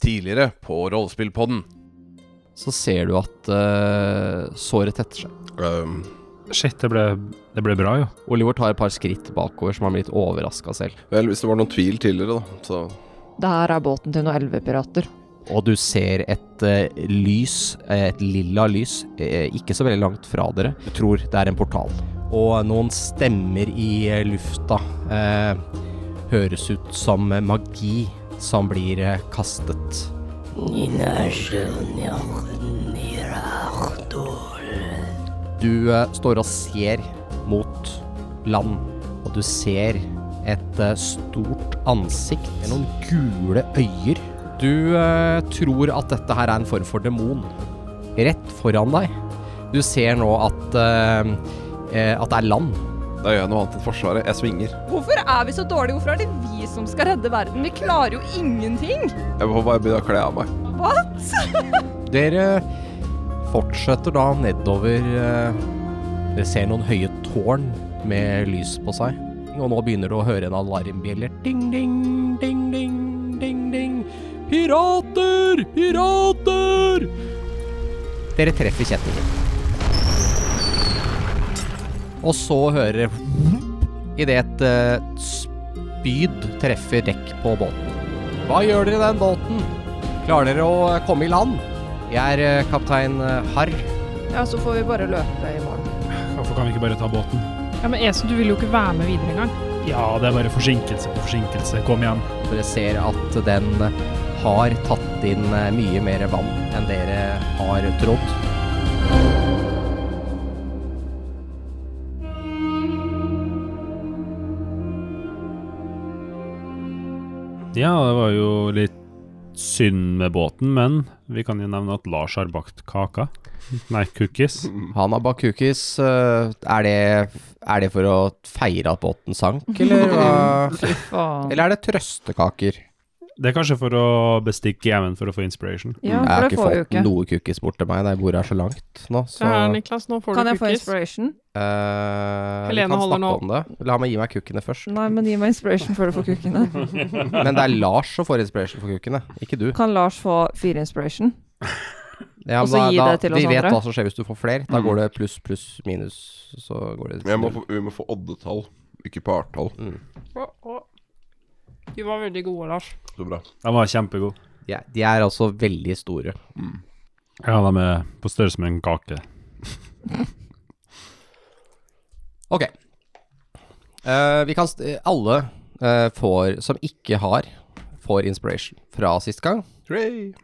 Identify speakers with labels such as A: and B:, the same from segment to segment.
A: tidligere på Rollespillpodden.
B: så ser du at eh, såret tetter seg.
A: Ehm,
C: Shit, det ble, det ble bra, jo.
B: Oliver tar et par skritt bakover, som han blir litt overraska selv.
A: vel, hvis det var noen tvil tidligere, da, så
D: Det her er båten til noen elvepirater.
B: Og du ser et eh, lys, eh, et lilla lys, eh, ikke så veldig langt fra dere. Du tror det er en portal. Og noen stemmer i eh, lufta eh, høres ut som magi som blir eh, kastet. Du eh, står og ser mot land, og du ser et eh, stort ansikt med noen gule øyer. Du eh, tror at dette her er en form for demon. Rett foran deg. Du ser nå at, eh, eh, at det er land.
A: da gjør jeg noe annet enn Forsvaret. Jeg svinger.
E: Hvorfor er vi så dårlige? Hvorfor er det vi som skal redde verden? Vi klarer jo ingenting.
A: Jeg må bare begynne å kle av meg.
E: What?
B: Dere fortsetter da nedover. eh, Dere ser noen høye tårn med lys på seg. Og nå begynner du å høre en alarmbjelle. Ding, ding, ding, ding, ding, ding. Pirater! Pirater! Dere treffer kjettingen. Og så hører dere idet et eh, spyd treffer dekk på båten. Hva gjør dere i den båten? Klarer dere å eh, komme i land? Jeg er eh, kaptein eh, Harr.
D: Ja, så får vi bare løpe i morgen.
C: Hvorfor kan vi ikke bare ta båten?
F: Ja, men Esen, du vil jo ikke være med videre engang.
C: Ja, det er bare forsinkelse på forsinkelse. Kom igjen.
B: Dere ser at den har tatt inn eh, mye mer vann enn dere har trodd.
C: Ja, det var jo litt synd med båten, men vi kan jo nevne at Lars har bakt kaka. Nei, cookies.
B: Han har bakt cookies. eh, Er det, er det for å feire at båten sank, eller hva?
F: Fy faen.
B: Eller er det trøstekaker?
C: Det er kanskje for å bestikke hjemmen for å få inspiration.
B: jeg
D: Ja, for
B: har
D: det
B: ikke
D: får vi jo
B: fått
D: ikke.
B: noe cookies bort til meg. Det bordet er så langt nå, så
F: Ja, Niklas, nå får
D: Kan
F: du
D: jeg få
F: cookies.
D: inspiration?
B: eh, Vi
F: Helene
B: kan
F: holder
B: snakke
F: nå.
B: om det. La meg gi meg kukkene først.
D: Nei, men gi meg inspiration før du får kukkene. Mm.
B: Men det er Lars som får inspiration for kukkene, ikke du.
D: Kan Lars få fire inspiration?
B: Ja, men
D: Og så gi
B: da,
D: det til
B: da,
D: oss
B: vi vet
D: andre.
B: hva som skjer hvis du får flere. Da går det pluss, pluss, minus, så går det
A: Mm. Jeg må, få- vi må få oddetall, ikke partall.
F: Å, å. Du var veldig gode, Lars.
A: Så bra.
C: De var kjempegode.
B: Ja, de er altså veldig store.
C: Ja, de er på størrelse med en kake.
B: Ok. Eh, vi kan st alle eh, får, som ikke har, får inspiration fra sist gang.
A: Hooray!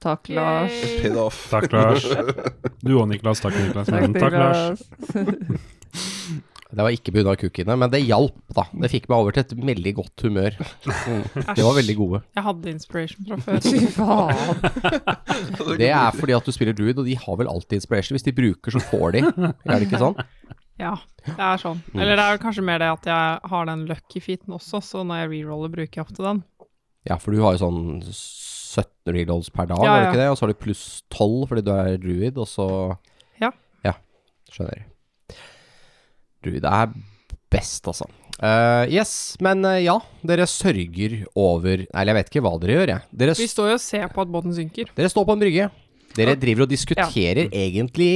D: Takk, Lars.
A: Paid off.
C: Takk, Lars. Du og Niklas. Takk, Niklas. Men Takk, Lars.
B: Det var ikke pga. cookiene, men det hjalp, da. Det fikk meg over til et veldig godt humør.
F: Æsj.
B: Det var veldig gode.
F: Jeg hadde inspiration fra før.
D: Fy faen.
B: Det er fordi at du spiller druid, og de har vel alltid inspiration. Hvis de bruker, så får de. Er det ikke sånn?
F: Ja, det er sånn.
B: Mm.
F: Eller det er kanskje mer det at jeg har den lucky feeten også, så når jeg reroller, bruker jeg ofte den.
B: Ja, for du har jo sånn 17 reloads per dag,
F: Ja,
B: har du
F: ja.
B: ikke det? Og så har du pluss 12 fordi du er druid, og så
F: Ja.
B: Ja, skjønner. Druid er best, altså. Eh, yes, men eh, ja, dere sørger over Eller jeg vet ikke hva dere gjør, jeg. Dere, s-
F: Vi står jo og ser på at båten synker.
B: dere står på en brygge. Dere driver og diskuterer egentlig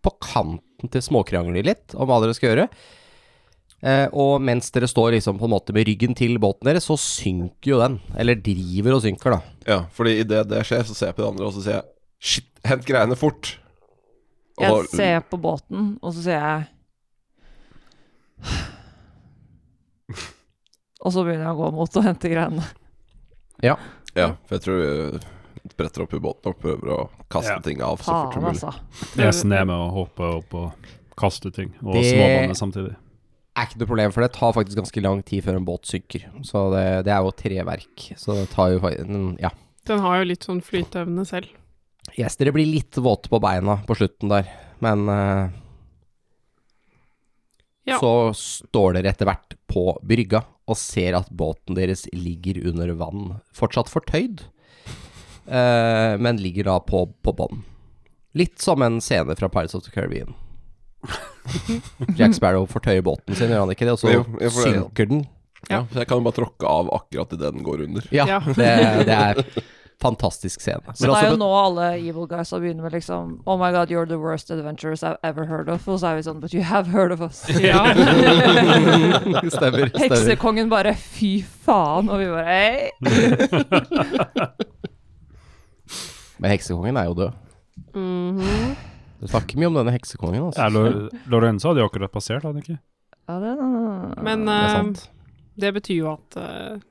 B: på kanten til småkrangler litt om hva dere skal gjøre. Eh, og mens dere står liksom på en måte med ryggen til båten deres, så synker jo den. Eller driver og synker, da.
A: Ja, fordi idet det skjer, så ser jeg på de andre, og så sier jeg Shit, hent greiene fort! Og
D: Jeg
A: da-
D: ser på båten, og så sier jeg Og så begynner jeg å gå mot å hente greiene.
A: Ja, for jeg tror jeg bretter opp i båten og prøver å kaste
C: Ja.
A: ting av så fort
D: Faen,
A: som mulig.
D: altså.
C: Esen er med og hopper opp og kaster ting. Og
B: Det-
C: småbanne samtidig.
B: er ikke noe problem, for det tar faktisk ganske lang tid før en båt synker. Så det, det er jo treverk, så det tar jo faktisk Ja.
F: Den har jo litt sånn flyteevne selv.
B: Yes, dere blir litt våte på beina på slutten der, men eh,
F: Ja.
B: Så står dere etter hvert på brygga og ser at båten deres ligger under vann. Fortsatt fortøyd, eh, men ligger da på, på bånn. Litt som en scene fra Pirates of the Caribbean.
D: Mhm.
B: Jack Sparrow fortøyer båten sin, gjør han ikke det? Og så
A: Jo, jeg får det, ja.
B: synker den.
A: Ja, så jeg kan jo bare tråkke av akkurat idet den går under.
B: Ja,
F: Ja.
B: Det, det er fantastisk scene.
D: Så
B: Hvor
D: det er jo
B: altså-
D: nå alle evil guys har begynner med liksom Oh my god, you're the worst adventurers I've ever heard of. Og så er vi sånn But you have heard of us.
F: Ja.
B: stemmer, stemmer.
D: Heksekongen bare Fy faen. Og vi bare Hei.
B: Men heksekongen er jo død. Du snakker mye om denne heksekongen, altså.
C: Ja, Lo- Lorenzo hadde jo akkurat passert, hadde han ikke?
D: Ja, det er
F: Men
B: Det er
F: eh,
B: sant.
F: det betyr jo at eh,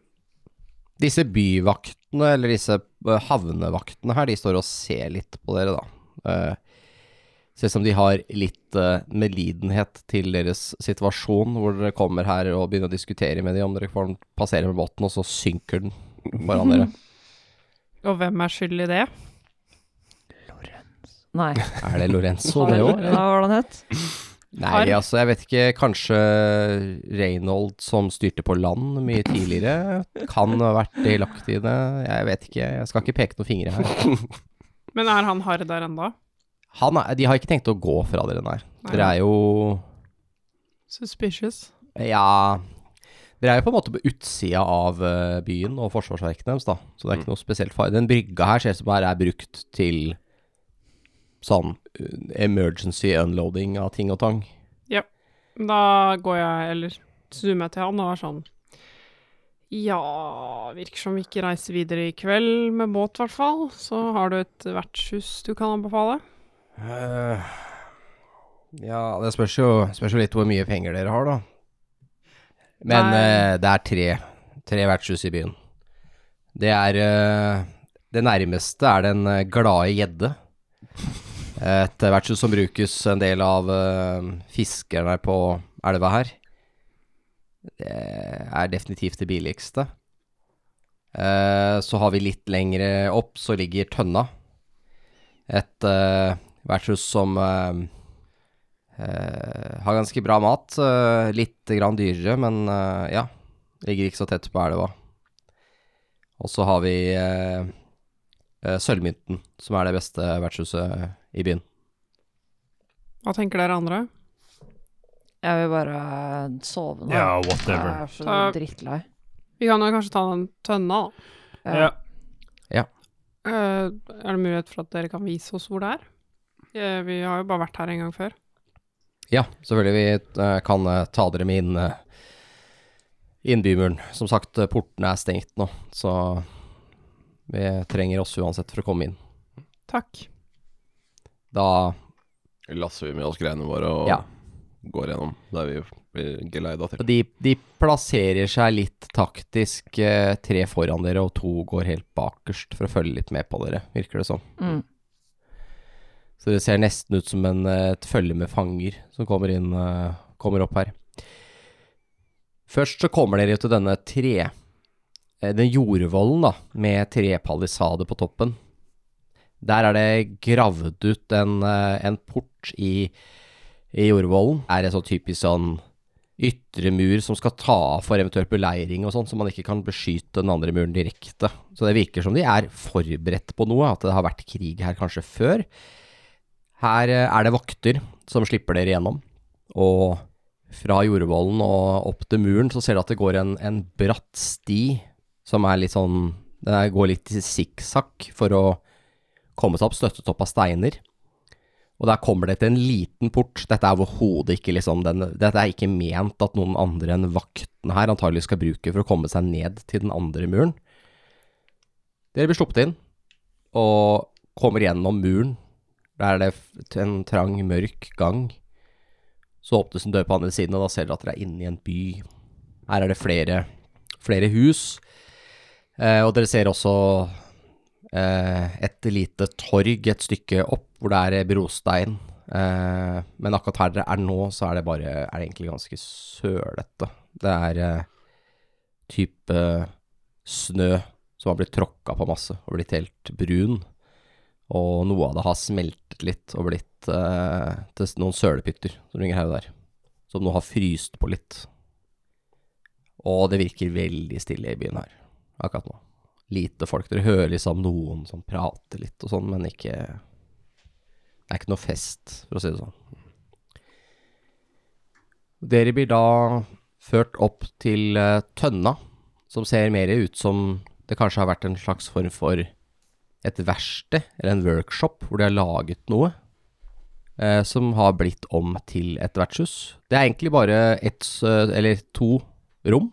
B: Disse byvaktene, eller disse eh, havnevaktene her, de står og ser litt på dere, da. Eh, Ser ut som de har litt eh, medlidenhet til deres situasjon, hvor dere kommer her og begynner å diskutere med dem om dere får den passere med båten, og så synker den foran dere.
F: Og hvem er skyld i det?
D: Nei.
B: Er det Lorenzo,
D: Hva
B: det òg?
D: var det han het?
B: Nei, altså, jeg vet ikke. Kanskje Reynold som styrte på land mye tidligere, kan ha vært delaktig i det. Jeg vet ikke. Jeg skal ikke peke noen fingre her.
F: Men er han hard der ennå?
B: Han er, de har ikke tenkt å gå fra dere, nei.
F: Nei.
B: Dere er jo
F: Suspicious.
B: Ja Dere er jo på en måte på utsida av eh, byen og forsvarsverkene deres, da. Så det er ikke noe spesielt farlig. Den brygga her ser ut som her er brukt til sånn eh, emergency unloading av ting og tang.
F: Da går jeg, eller zoomer jeg til han og er sånn Ja, virker som vi ikke reiser videre i kveld med båt, i hvert fall. Så har du et vertshus du kan anbefale.
B: Eh, ja, det spørs jo, spørs jo litt hvor mye penger dere har, da. Men
F: Nei.
B: eh, det er tre, tre vertshus i byen. Det er eh, Det nærmeste er Den eh, glade gjedde. Eh, Et vertshus som brukes en del av eh, fiskerne på elva her. Det er definitivt det billigste. Eh, så har vi litt lengre opp, så ligger Tønna. Et eh, vertshus som eh, eh, har ganske bra mat. eh, litt grann dyrere, men eh, ja. Ligger ikke så tett på elva. Og så har vi eh, eh, Sølvmynten, som er det beste vertshuset i byen.
F: Hva tenker dere andre?
D: Jeg vil bare eh, sove nå.
C: Ja,
D: jeg
C: whatever.
D: er så
F: Ta-
D: drittlei.
F: Vi kan jo kanskje ta den tønna, da.
C: Ja.
F: Eh, er det mulighet for at dere kan vise oss hvor det er? Eh, vi har jo bare vært her en gang før.
B: Ja, selvfølgelig. Vi eh, kan eh, ta dere med inn, eh, inn bymuren. Som sagt, eh, portene er stengt nå, så vi trenger oss uansett for å komme inn.
F: Takk.
B: Da
A: Lasser vi med oss greiene våre og
B: Ja.
A: går gjennom der vi blir geleida til.
B: de, de plasserer seg litt taktisk, eh, tre foran dere og to går helt bakerst for å følge litt med på dere, virker det som.
D: Mm.
B: Så det ser nesten ut som en, eh, et følge med fanger som kommer, inn, eh, kommer opp her. Først så kommer dere til denne tre... eh, Den jordvollen da, med tre palissader på toppen. Der er det gravd ut en, eh, en port i, i jordvollen. Det er en sånn typisk sånn ytre mur som skal ta av for eventuelt beleiring og sånn, så man ikke kan beskytte den andre muren direkte. Så det virker som de er forberedt på noe, at det har vært krig her kanskje før. Her eh, er det vakter som slipper dere gjennom, og fra jordvollen og opp til muren så ser du at det går en, en bratt sti som er litt sånn Den er- går litt i sikksakk for å komme seg opp, støttet opp av steiner. Og der kommer det til en liten port. Dette er overhodet ikke liksom den, Dette er ikke ment at noen andre enn vaktene her antagelig skal bruke for å komme seg ned til den andre muren. Dere blir sluppet inn, og kommer gjennom muren. Der er det f- en trang, mørk gang. Så åpnes en dør på andre siden, og da ser dere at dere er inne i en by. Her er det flere, flere hus. Eh, og dere ser også eh, et lite torg et stykke opp, hvor det er brostein. Eh, men akkurat her dere er nå, så er det bare Er det egentlig ganske sølete. Det er eh, type snø som har blitt tråkka på masse og blitt helt brun. Og noe av det har smeltet litt og blitt eh, til s- noen sølepytter som ligger her og der. Som nå har fryst på litt. Og det virker veldig stille i byen her akkurat nå. Lite folk. Dere hører liksom noen som prater litt og sånn, men ikke Det er ikke noe fest, for å si det sånn. Dere blir da ført opp til eh, Tønna, som ser mer ut som det kanskje har vært en slags form for et verksted eller en workshop hvor de har laget noe eh, som har blitt om til et vertshus. Det er egentlig bare ett s- eh, eller to rom.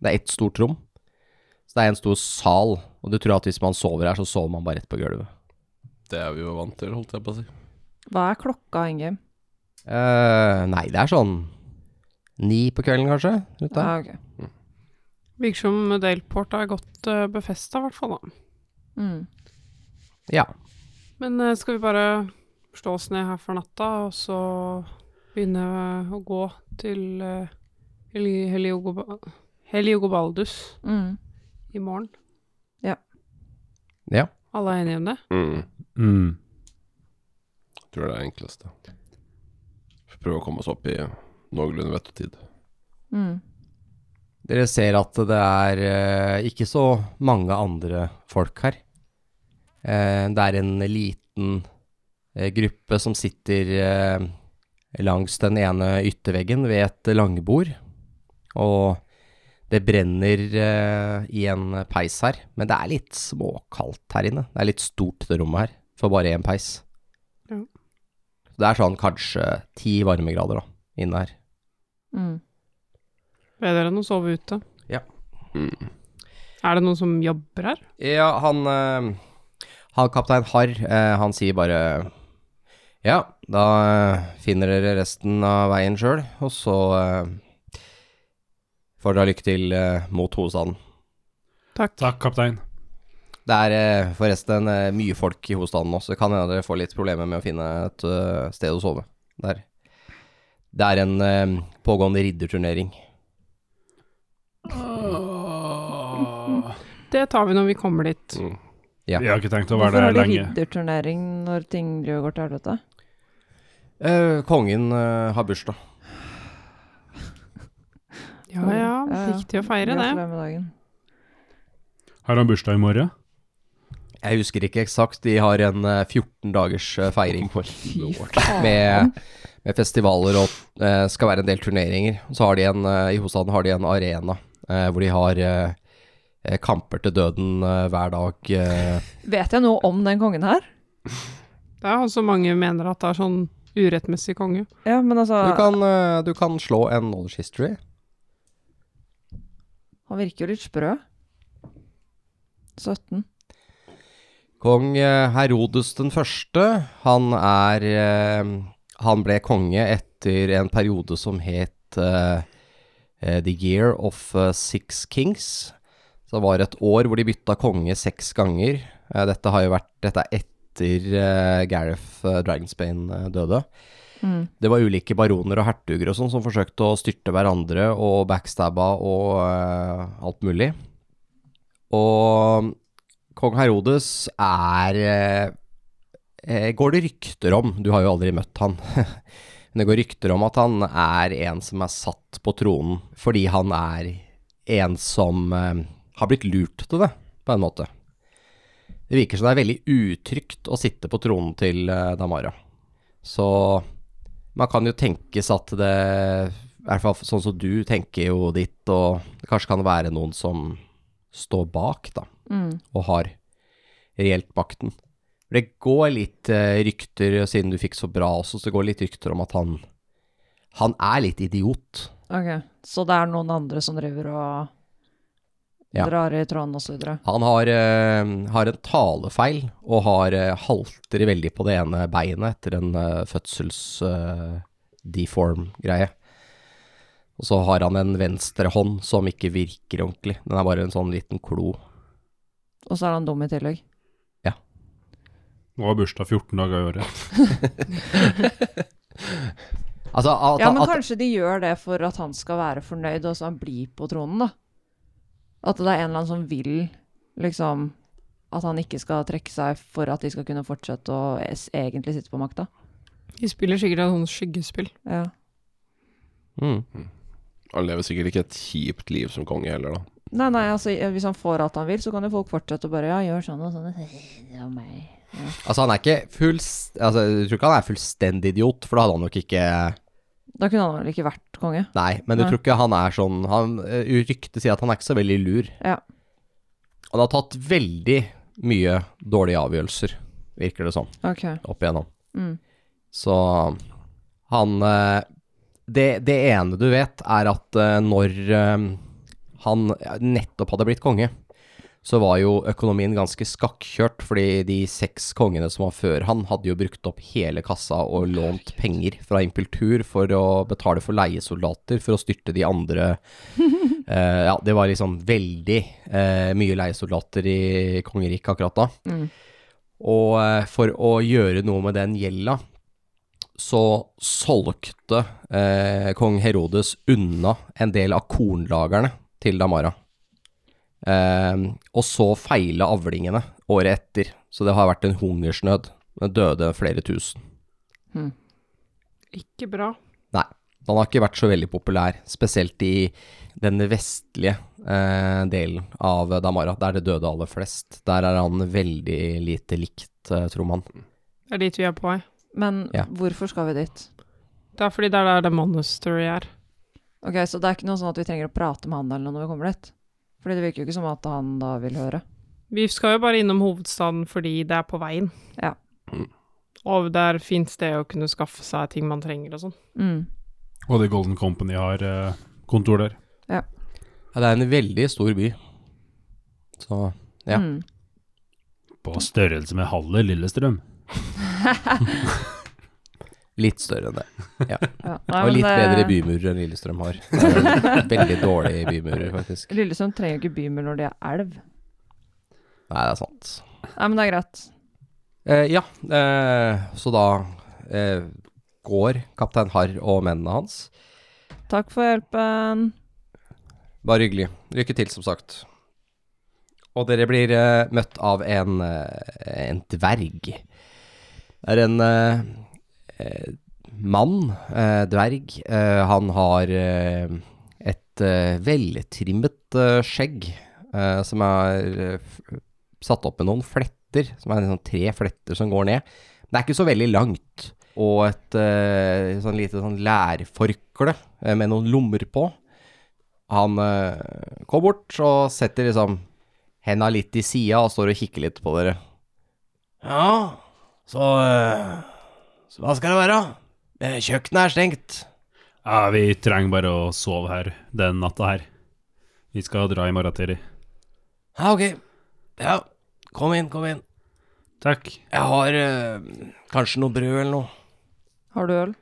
B: Det er ett stort rom. Så det er en stor sal, og du tror at hvis man sover her, så sover man bare rett på gulvet.
A: Det er vi jo vant til, holdt jeg på å si.
D: Hva er klokka, Ingame?
B: Eh, nei, det er sånn ni på kvelden, kanskje? Rundt der.
D: Ah, ok.
F: Virker som Daleport er godt uh, befesta, i hvert fall. da.
D: mm.
B: Ja.
F: Men eh, skal vi bare slå oss ned her for natta, og så begynne eh, å gå til uh, Heliogoba Heliogobaldus
D: Mm.
F: i morgen?
B: ja.
F: Alle er enige om det?
A: Mm.
C: Mm.
A: Tror det er enklest, da. Får Prøve å komme oss opp i noenlunde vettetid.
D: Mm.
B: Dere ser at det er eh, ikke så mange andre folk her. Eh, det er en liten eh, gruppe som sitter eh, langs den ene ytterveggen ved et langbord. Og det brenner eh, i en peis her, men det er litt småkaldt her inne. Det er litt stort det rommet her, for bare én peis.
F: Ja.
B: Det er sånn kanskje ti varmegrader da, inne her.
D: Mm.
F: Bedre enn å sove ute.
A: Mm.
F: Er det noen som jobber her?
B: Ja, han, eh, han kaptein Harr, eh, han sier bare Ja, da eh, finner dere resten av veien sjøl, og så eh, får dere ha lykke til eh, mot hovedstaden.
F: Takk.
C: Takk, kaptein.
B: Det er eh, forresten eh, mye folk i hovedstaden nå, så det kan hende dere får litt problemer med å finne et eh, sted å sove. Der. Det er en eh, pågående ridderturnering.
F: Det tar vi når vi kommer dit.
A: Mm.
B: Ja.
C: Vi har ikke tenkt å være
D: Hvorfor
C: der
D: har de
C: lenge.
D: ridderturnering når ting går til helvete?
B: Eh, kongen eh, har bursdag.
F: Ja ja,
D: Ja, ja.
F: viktig å feire det.
D: Gratulerer med dagen.
C: Har han bursdag i morgen?
B: Jeg husker ikke eksakt, de har en eh, 14 dagers eh, feiring.
D: Fy
B: med, med festivaler og eh, skal være en del turneringer. Og Så har de en, eh, I hovedstaden har de en arena eh, hvor de har eh, eh, kamper til døden eh, hver dag. eh.
D: Vet jeg noe om den kongen her?
F: Det er han som mange mener at det er sånn urettmessig konge.
D: Ja, men altså
B: Du, kan, eh, du kan slå en knowledge history.
D: Han virker jo litt sprø. 17.
B: Kong eh, Herodes den første, han er eh, Han ble konge etter en periode som het eh, eh, The Year of eh, Six Kings. Så det var et år hvor de bytta konge seks ganger. Eh, dette har jo vært Dette er etter eh, Gareth eh, Dragonsbane eh, døde.
D: Mm.
B: Det var ulike baroner og hertuger og sånn som forsøkte å styrte hverandre og backstabba og eh, alt mulig. Og kong Herodes er eh, eh, Går det rykter om Du har jo aldri møtt han. Men det går rykter om at han er en som er satt på tronen fordi han er en som eh, har blitt lurt til det, på en måte. Det virker som det er veldig utrygt å sitte på tronen til eh, Damara. Så man kan jo tenkes at det I hvert fall sånn som du tenker jo ditt, og det kanskje kan være noen som står bak, da,
D: Mm.
B: og har reelt makten. For Det går litt eh, rykter, siden du fikk så bra også, så det går litt rykter om at han Han er litt idiot.
D: Ok, så det er noen andre som driver og
B: Ja.
D: drar i tråden og så videre.
B: Han har, eh, har en talefeil og har eh, halter veldig på det ene beinet etter en eh, fødsels eh, deform-greie. Og så har han en venstre hånd som ikke virker ordentlig. Den er bare en sånn liten klo.
D: Og så er han dum i tillegg.
C: Nå har bursdag 14 dager i året.
B: Altså, at,
D: Ja, men
B: at,
D: kanskje de gjør det for at han skal være fornøyd, og så han blir på tronen, da. At det er en eller annen som vil, liksom At han ikke skal trekke seg for at de skal kunne fortsette å es- egentlig sitte på makta.
F: De spiller sikkert et sånt skyggespill.
D: Ja.
B: mm.
A: Han lever sikkert ikke et kjipt liv som konge heller, da.
D: Nei, nei, altså, hvis han får alt han vil, så kan jo folk fortsette å bare Ja, gjør sånn og sånn. Det var meg.
B: altså, han er ikke fullst... Altså, jeg tror ikke han er fullstendig idiot, for da hadde han nok ikke
D: Da kunne han vel ikke vært konge.
B: Nei, men du
D: Nei.
B: tror ikke han er sånn han, eh, Ryktet sier at han er ikke så veldig lur.
D: Ja.
B: Han har tatt veldig mye dårlige avgjørelser, virker det som,
D: Ok.
B: opp igjennom.
D: Mm.
B: Så han eh, det, det ene du vet, er at eh, når eh, han nettopp hadde blitt konge, så var jo økonomien ganske skakkjørt, fordi de seks kongene som var før han, hadde jo brukt opp hele kassa og lånt penger fra Impultur for å betale for leiesoldater for å styrte de andre eh, Ja, det var liksom veldig eh, mye leiesoldater i kongeriket akkurat da.
D: Mm.
B: Og eh, for å gjøre noe med den gjelda, så solgte eh, kong Herodes unna en del av kornlagerne til Damara. Eh, og så feila avlingene året etter, så det har vært en hungersnød. Det døde flere tusen.
F: Ikke bra.
B: Nei, han har ikke vært så veldig populær, spesielt i den vestlige eh, delen av Damara, der det døde aller flest. Der er han veldig lite likt, eh, tror man.
F: Det er dit vi er på vei.
D: Men
B: Ja.
D: hvorfor skal vi dit?
F: Det er fordi det er der The Monastery er.
D: Ok, Så det er ikke noe sånn at vi trenger å prate med han eller noe når vi kommer dit? Fordi det virker jo ikke som at han da vil høre.
F: Vi skal jo bare innom hovedstaden fordi det er på veien.
D: Ja.
F: Og der fins det å kunne skaffe seg ting man trenger og sånn.
D: Mm.
C: Og The Golden Company har eh, kontor der.
B: Ja, det er en veldig stor by. Så Ja.
D: Mm.
C: På størrelse med halve Lillestrøm.
B: litt større enn det.
D: Ja. Nei,
B: og
D: men
B: litt bedre
D: det-
B: bymurer enn Lillestrøm har. Det er Veldig dårlige bymurer, faktisk.
D: Lillesund trenger jo ikke bymull når de er elv.
B: Nei, det er sant.
D: Nei, men det er greit.
B: Eh, ja, eh, så da eh, går kaptein Harr og mennene hans.
D: Takk for hjelpen.
B: Bare hyggelig. Lykke til, som sagt. Og dere blir eh, møtt av en, eh, en dverg. Det er en eh, eh, mann, eh, dverg. Eh, han har eh, et eh, veltrimmet eh, skjegg eh, som er eh, f- satt opp med noen fletter, som er sånn tre fletter som går ned. Men det er ikke så veldig langt. Og et eh, sånn lite sånn lærforkle eh, med noen lommer på. Han eh, går bort og setter liksom henda litt i sida og står og kikker litt på dere. Ja, så eh, Så hva skal det være? Eh, Kjøkkenet er stengt.
C: Ja, vi trenger bare å sove her den natta her. Vi skal dra i morgen tidlig.
B: Ja, ok. Ja, kom inn, kom inn.
C: Takk.
B: Jeg har eh, kanskje noe brød eller noe.
D: Har du øl?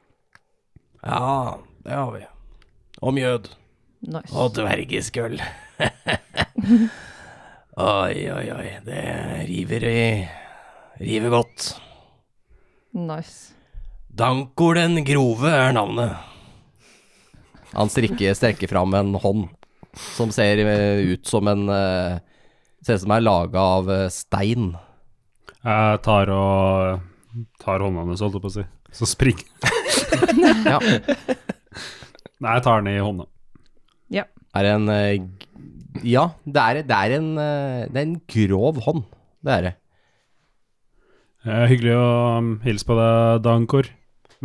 B: Ja, det har vi. Og mjød.
D: Nice.
B: Og dvergisk øl. oi, oi, oi. Det river i River godt.
D: Nice.
B: Dankor den grove er navnet. Han strikker, strekker fram en hånd som ser eh, ut som en eh, Ser ut som den er laga av eh, stein.
C: Jeg tar og tar hånda hennes, holdt jeg på å si. Så spring.
B: Ja.
C: Nei, jeg tar den i hånda.
B: Er en eh, g- Ja, det er, det er en eh, Det er en grov hånd. Det er det.
C: Eh, hyggelig å um, hilse på deg, Dankor.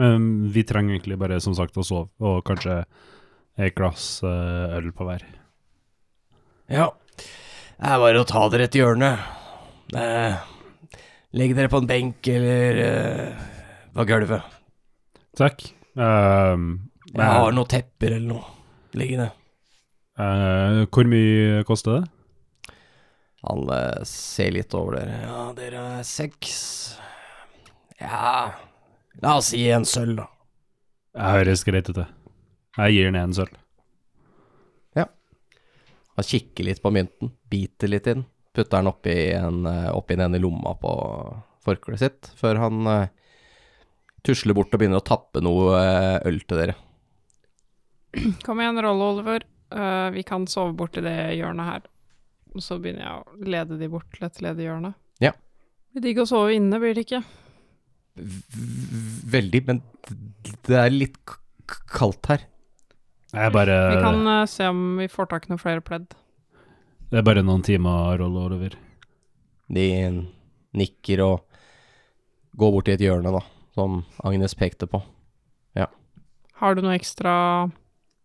C: Men vi trenger egentlig bare, som sagt, å sove, og kanskje et glass eh, øl på hver.
B: Ja. Det er bare å ta dere et hjørne. Eh, Legg dere på en benk eller eh, på gulvet.
C: Takk. Ehm, men,
B: noen tepper eller noe liggende.
C: eh, hvor mye koster det?
B: Han eh, ser litt over dere. Ja, dere er seks. Ja, la oss si en sølv, da.
C: Jeg høres greit ut, det. Jeg gir den en sølv.
B: Han kikker litt på mynten, biter litt inn, putter den oppi en, eh, oppi den ene lomma på forkleet sitt, før han eh, tusler bort og begynner å tappe noe eh, øl til dere.
F: Kom igjen, Rolle Oliver. Eh, vi kan sove borti det hjørnet her. Og så begynner jeg å lede de bort til et ledig hjørne.
B: Ja.
F: Det blir digg å sove inne, blir det ikke?
B: V- Veldig, men det er litt k- k- kaldt her.
C: Jeg bare,
F: Vi kan eh, se om vi får tak i noen flere pledd.
C: Det er bare noen timer å rolle over.
B: De nikker og går bort til et hjørne, da, som Agnes pekte på.
F: Har du noe ekstra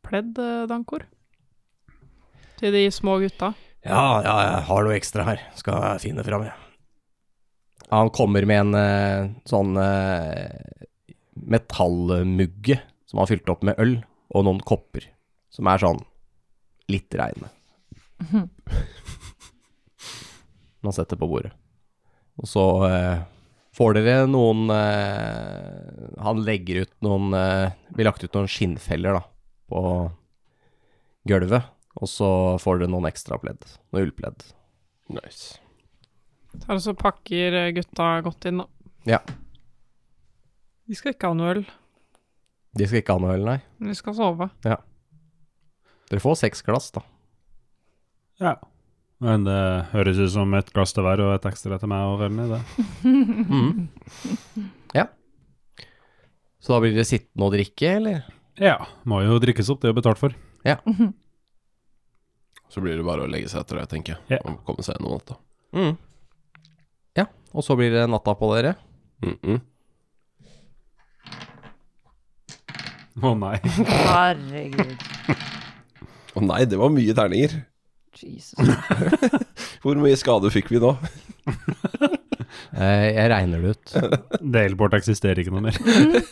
F: pledd, eh, Dankor? Til de små gutta?
B: Ja, ja, jeg har noe ekstra her. Skal jeg finne fram, jeg. Han kommer med en eh, sånn eh, metallmugge som han fylte opp med øl, og noen kopper, som er sånn litt reine. Som han setter på bordet. Og så eh, får dere noen eh, Han legger ut noen eh, Vi lagt ut noen skinnfeller, da, på gulvet. Og så får dere noen ekstra pledd. Noen ullpledd.
A: Nice.
F: Tar og så pakker eh, gutta godt inn, da.
B: Ja.
F: De skal ikke ha noe øl,
B: De skal ikke ha noe øl, nei.
F: men de skal sove.
B: Dere får seks glass, da.
C: Ja. Men det høres ut som et glass til hver og et ekstra til meg og Remi. det.
B: Mhm. Ja. Så da blir dere sittende og drikke, eller?
C: Ja, må jo drikkes opp, det er jo betalt for.
A: Så blir det bare å legge seg etter det, tenker jeg.
C: Ja.
A: Og komme seg gjennom natta.
B: Mhm. Ja, og så blir det natta på dere.
A: Mm -mm.
C: Å nei.
D: Herregud.
A: Å nei, det var mye terninger.
D: Jesus.
A: Hvor mye skade fikk vi nå?
B: Eh, jeg regner det ut.
C: Delport eksisterer ikke noe mer.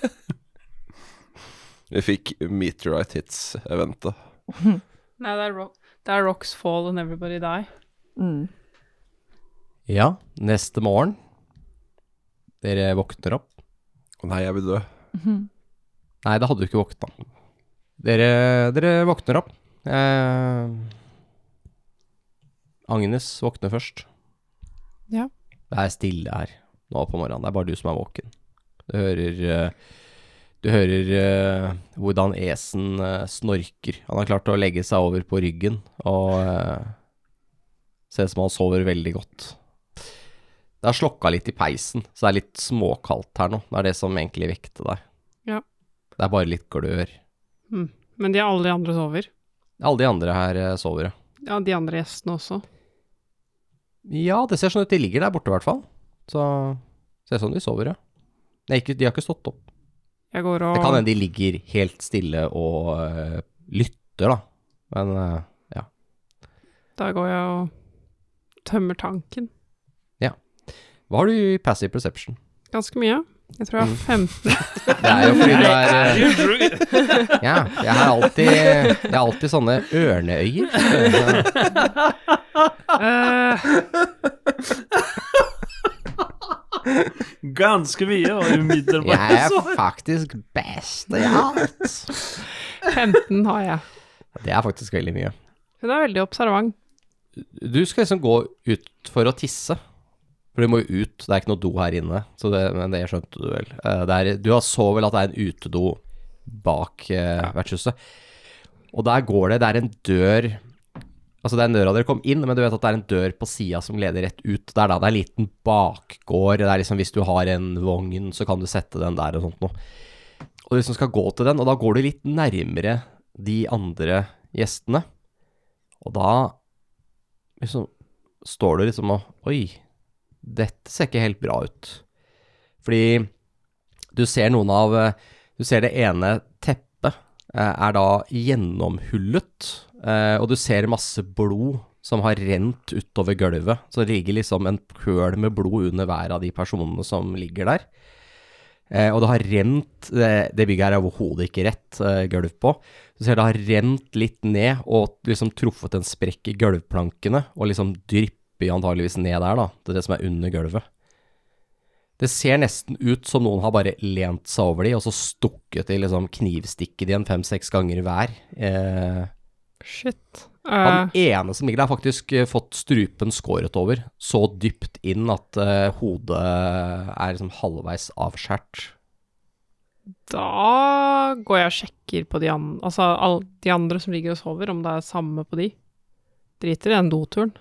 A: Vi fikk meteorite hits-eventet.
F: Nei, det er, ro det er rocks fall and everybody die.
D: Mm.
B: Ja, neste morgen. Dere våkner opp.
A: Å nei, jeg vil dø.
B: Nei, det hadde du ikke våkna. Dere, dere våkner opp. Eh, Agnes våkner først.
F: Ja.
B: Det er stille her nå på morgenen. Det er bare du som er våken. Du hører eh, Du hører eh, hvordan Esen eh, snorker. Han har klart å legge seg over på ryggen og eh, ser ut som han sover veldig godt. Det har slokka litt i peisen, så det er litt småkaldt her nå. Det er det som egentlig vekte deg. Det er bare litt glør.
F: Men de alle de andre sover.
B: Alle de andre her eh, sover, ja.
F: Ja, de andre gjestene også.
B: Ja, det ser sånn ut. De ligger der borte, i hvert fall. Så ser sånn de sover, ja. Nei, ikke, de har ikke stått opp.
F: Jeg går
B: Det
F: og
B: kan hende de ligger helt stille og eh, lytter, da. Men eh,
F: Da går jeg og tømmer tanken.
B: hva har du i passive perception?
F: Ganske mye. Jeg tror jeg
B: Mm.
F: har 15.
B: Det er jo fordi du er eh, Ja, jeg har alltid Jeg har alltid sånne ørneøyer.
F: Eh,
C: Ganske mye, og umiddelbart.
B: Jeg er faktisk best i alt.
F: 15 har jeg.
B: Det er faktisk veldig mye.
F: Hun er veldig observant.
B: Du skal liksom gå ut for å tisse. For du må jo ut, det er ikke noe do her inne. Så det, men det skjønte du vel. Eh, Det er, du har så vel at det er en utedo bak eh, vertshuset. Og der går det, det er en dør Altså det er en døra dere kom inn, men du vet at det er en dør på sida som leder rett ut. Det er da det er en liten bakgård. Det er liksom hvis du har en vogn, så kan du sette den der og sånt noe. Og du liksom skal gå til den, og da går du litt nærmere de andre gjestene. Og da liksom står du liksom og Oi, dette ser ikke helt bra ut. Fordi du ser noen av eh, Du ser det ene teppet eh, er da gjennomhullet, eh, og du ser masse blod som har rent utover gulvet. Så det ligger liksom en pøl med blod under hver av de personene som ligger der. Eh, og det har rent Det, det bygget her er overhodet ikke rett eh, gulv på. Du ser det har rent litt ned og liksom truffet en sprekk i gulvplankene, og liksom drypper antageligvis ned der, da, til det som er under gulvet. Det ser nesten ut som noen har bare lent seg over de, og så stukket de liksom knivstikket de en fem-seks ganger hver. Eh,
F: Shit.
B: han
F: Eh,
B: ene som ligger der, har faktisk eh, fått strupen skåret over, så dypt inn at eh, hodet er liksom halvveis avskjært.
F: da går jeg og sjekker på de, an altså, all de andre som ligger og sover, om det er samme på de. Driter i den doturen.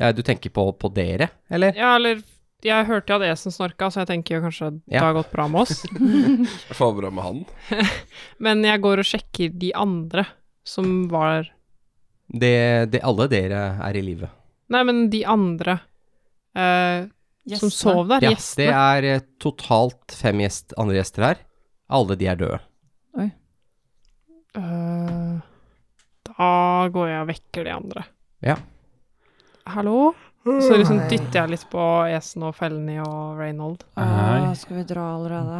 B: Ja, du tenker på, på dere, eller?
F: Ja, eller Jeg hørte jo at Esen snorka, så jeg tenker jo kanskje at det
B: Ja.
F: har gått bra med oss.
A: Jeg får bra med han.
F: Men jeg går og sjekker de andre som var
B: Det, det, alle dere er i live.
F: Nei, men de andre eh, som sov der.
B: Ja, det
F: gjestene.
B: er eh, totalt fem gjest, andre gjester her. Alle de er døde.
F: Eh, da går jeg og vekker de andre.
B: Ja.
F: Hallo? Så liksom dytter jeg litt på Esen og Felny og Reynold.
C: Nei.
D: Åh, skal vi dra allerede?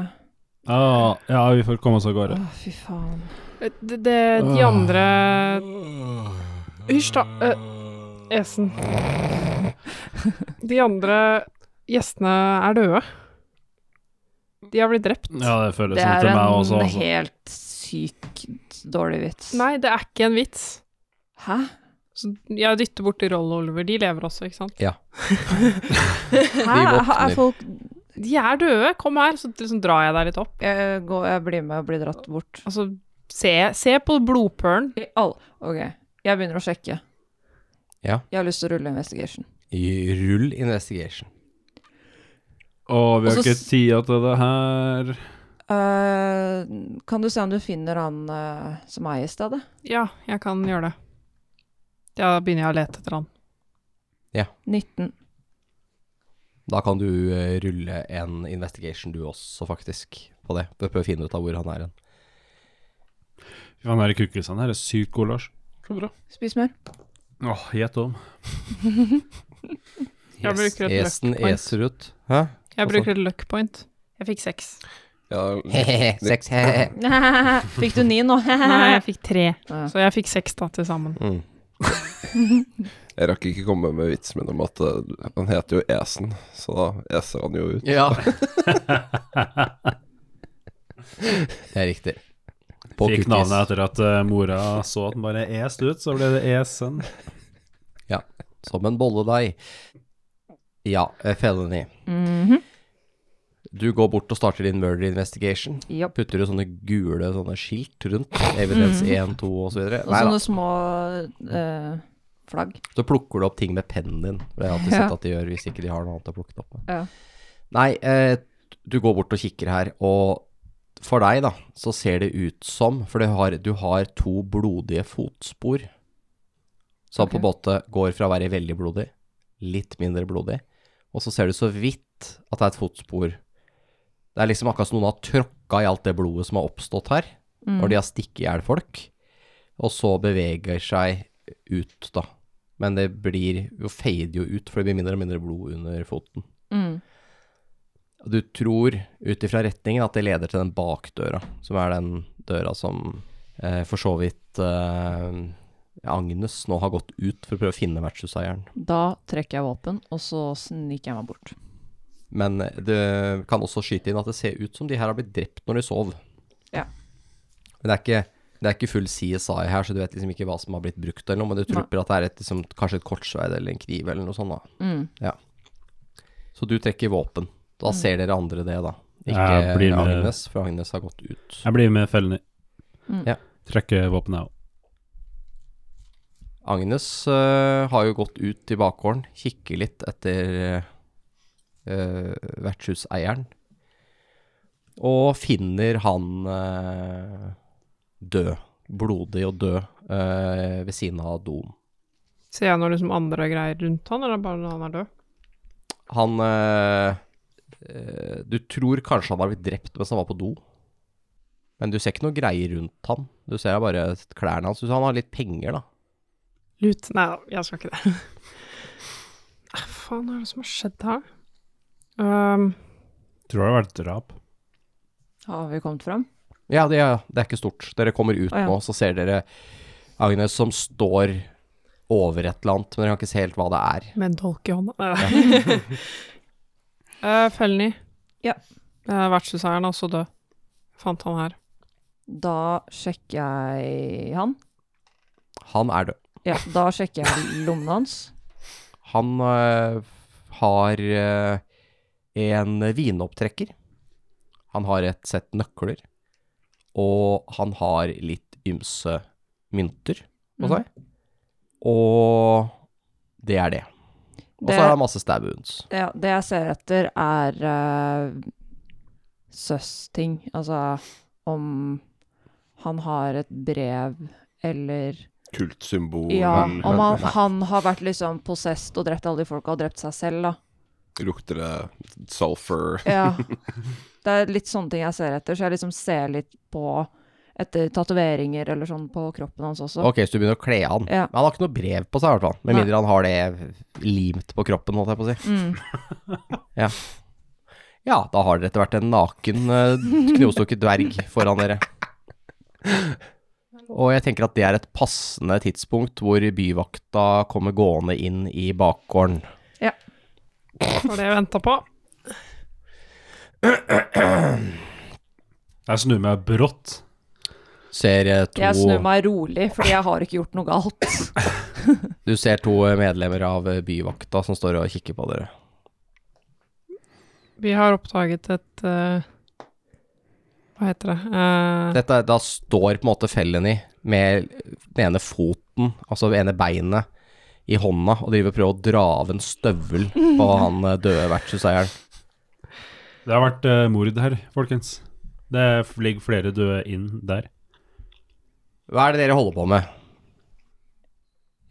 C: Ah, ja, vi får komme oss av gårde.
D: Å, fy faen.
F: Det, Eh, det, de andre Hysj, da. eh, Esen. De andre gjestene er døde. De har blitt drept.
C: Ja, det føles
D: Det
C: sånn
D: er
C: til meg også.
D: en
C: altså.
D: helt sykt dårlig vits.
F: Nei, det er ikke en vits.
D: Hæ?
F: Så jeg dytter borti Roll og Oliver. De lever også, ikke sant?
D: Hæ?
B: våkner.
D: Er folk
F: De er døde. Kom her, så liksom drar jeg deg litt opp.
D: jeg, går, eh, jeg blir med og blir dratt bort.
F: Altså, se, se på blodpølen.
D: I all... Ok, jeg begynner å sjekke.
B: Ja.
D: Jeg har lyst til å rulle investigation.
B: Rull investigation.
C: Å, vi har
D: Og så
C: ikke
D: s-
C: tida til det her.
D: Eh, kan du se om du finner han eh, som er i stedet?
F: Ja, jeg kan gjøre det. Da begynner jeg å lete etter han.
D: 19.
B: Da kan du eh, rulle en investigation du også, faktisk, på det. For å prøve å finne ut av hvor han er hen.
C: Fy faen, her er kukkis. Han her er sykt god, Lars. Så bra.
D: Spis mer.
C: Åh, gjett om.
F: Jeg bruker et
B: Esen
F: luck point.
B: eser ut. Hæ?
F: Jeg
B: Hvorfor?
F: bruker et luck point. Jeg fikk seks.
A: Ja,
B: Hehehe, sex, hehehe.
D: Fikk du 9 nå?
F: Nei, jeg fikk tre.
D: Ja.
F: Så jeg fikk seks da til sammen.
B: Mm.
A: jeg rakk ikke komme med vitsen min om at eh, han heter jo Esen, så da eser han jo ut.
B: Ja. det er riktig. På
C: Fikk
B: cookies.
C: navnet etter at eh, mora så at den bare est ut, så ble det Esen.
B: Ja. Som en bolledeig. Ja, eh, Felony.
D: Mhm.
B: Du går bort og starter din murder investigation.
D: Ja.
B: Putter du sånne gule sånne skilt rundt? Evidens 1, 2 og så videre?
D: Og
B: Nei da.
D: sånne små eh, flagg.
B: Så plukker du opp ting med pennen din. Det har jeg alltid
D: Ja.
B: sett at de gjør hvis ikke de har noe annet å plukke det opp med.
D: Ja.
B: Nei, eh, du går bort og kikker her, og for deg da, så ser det ut som, for det har, du har to blodige fotspor, som på en måte går fra å være veldig blodig, litt mindre blodig, og så ser du så vidt at det er et fotspor. Det er liksom akkurat som noen har tråkka i alt det blodet som har oppstått her,
D: Mm.
B: når de har stikket i hjel folk, og så beveger seg ut da. Men det blir jo fader jo ut, for det blir mindre og mindre blod under foten.
D: Mm.
B: Og Du tror ut ifra retningen at det leder til den bakdøra, som er den døra som eh, for så vidt eh, Agnes nå har gått ut for å prøve å finne vertshuseieren.
D: Da trekker jeg våpen, og så sniker jeg meg bort.
B: Men det kan også skyte inn at det ser ut som de her har blitt drept når de sov.
D: Ja.
B: Men det er ikke, det er ikke full CSI her, så du vet liksom ikke hva som har blitt brukt eller noe, men du
D: Nei.
B: trupper at det er et, liksom, kanskje et kortsverd eller en kniv eller noe sånt da.
D: Mm.
B: Så du trekker våpen. Da ser dere andre det da. Ikke
C: Jeg blir med.
B: Agnes, for Agnes har gått ut.
C: Jeg blir med fellene.
D: Mm.
B: Ja.
C: Trekker våpenet òg.
B: Agnes øh, har jo gått ut i bakgården, kikker litt etter øh, vertshuseieren, og finner han øh, død, blodig og død, øh, ved siden av doen.
F: Ser jeg noe liksom andre greier rundt han, eller bare når han er død?
B: Han øh, øh, Du tror kanskje han har blitt drept mens han var på do, men du ser ikke noe greier rundt han. Du ser bare klærne hans. Du ser han har litt penger, da.
F: Lut? Nei, jeg skal ikke det. Hva faen er det som har skjedd her? Um,
C: Tror det har vært drap.
D: Har vi kommet fram?
B: Ja, det er, det er ikke stort. Dere kommer ut
D: Å, ja.
B: nå, så ser dere Agnes som står over et eller annet, men dere kan ikke se helt hva det er.
F: med en dolk i hånda. Nei, nei. Eh, Felny.
D: Ja.
F: Eh, Vertshuseieren er også død. Fant han her.
D: Da sjekker jeg han.
B: Han er død.
D: Ja, da sjekker jeg lommene hans.
B: Han øh, har øh, en vinopptrekker. Han har et sett nøkler. Og han har litt ymse mynter på
D: Mm.
B: seg. Og det er det. Og så
D: Det-
B: er det masse stab wounds.
D: Ja, det jeg ser etter, er eh, søs-ting. Altså om han har et brev eller
A: Kultsymbol.
D: Ja,
A: men-
D: om han, han har vært liksom possessed og drept alle de folka og drept seg selv, da.
A: Lukter det sulfur?
D: Ja. Det er litt sånne ting jeg ser etter, så jeg liksom ser litt på etter tatoveringer eller sånn på kroppen hans også.
B: Ok, så du begynner å kle han.
D: Ja.
B: Men han har ikke noe brev på seg, i hvert fall. Med
D: Nei.
B: mindre han har det limt på kroppen, holdt jeg på å si.
D: Mm.
B: Ja. ja, da har dere etter hvert en naken, eh, knivstukket dverg foran dere. Og jeg tenker at det er et passende tidspunkt hvor byvakta kommer gående inn i bakgården.
F: Det var det jeg venta på.
C: Jeg snur meg brått.
B: Ser eh, to,
D: Jeg snur meg rolig, fordi jeg har ikke gjort noe galt.
B: du ser to eh, medlemmer av eh, byvakta som står og kikker på dere.
F: Vi har oppdaget et eh, Hva heter det? Eh,
B: Dette, er- da står på en måte Felleny med den ene foten, altså det ene beinet, i hånda og driver og prøver å dra av en støvel på han eh, døde vertshuseieren.
C: Det har vært eh, mord her, folkens. Det ligger flere døde inn der.
B: Hva er det dere holder på med?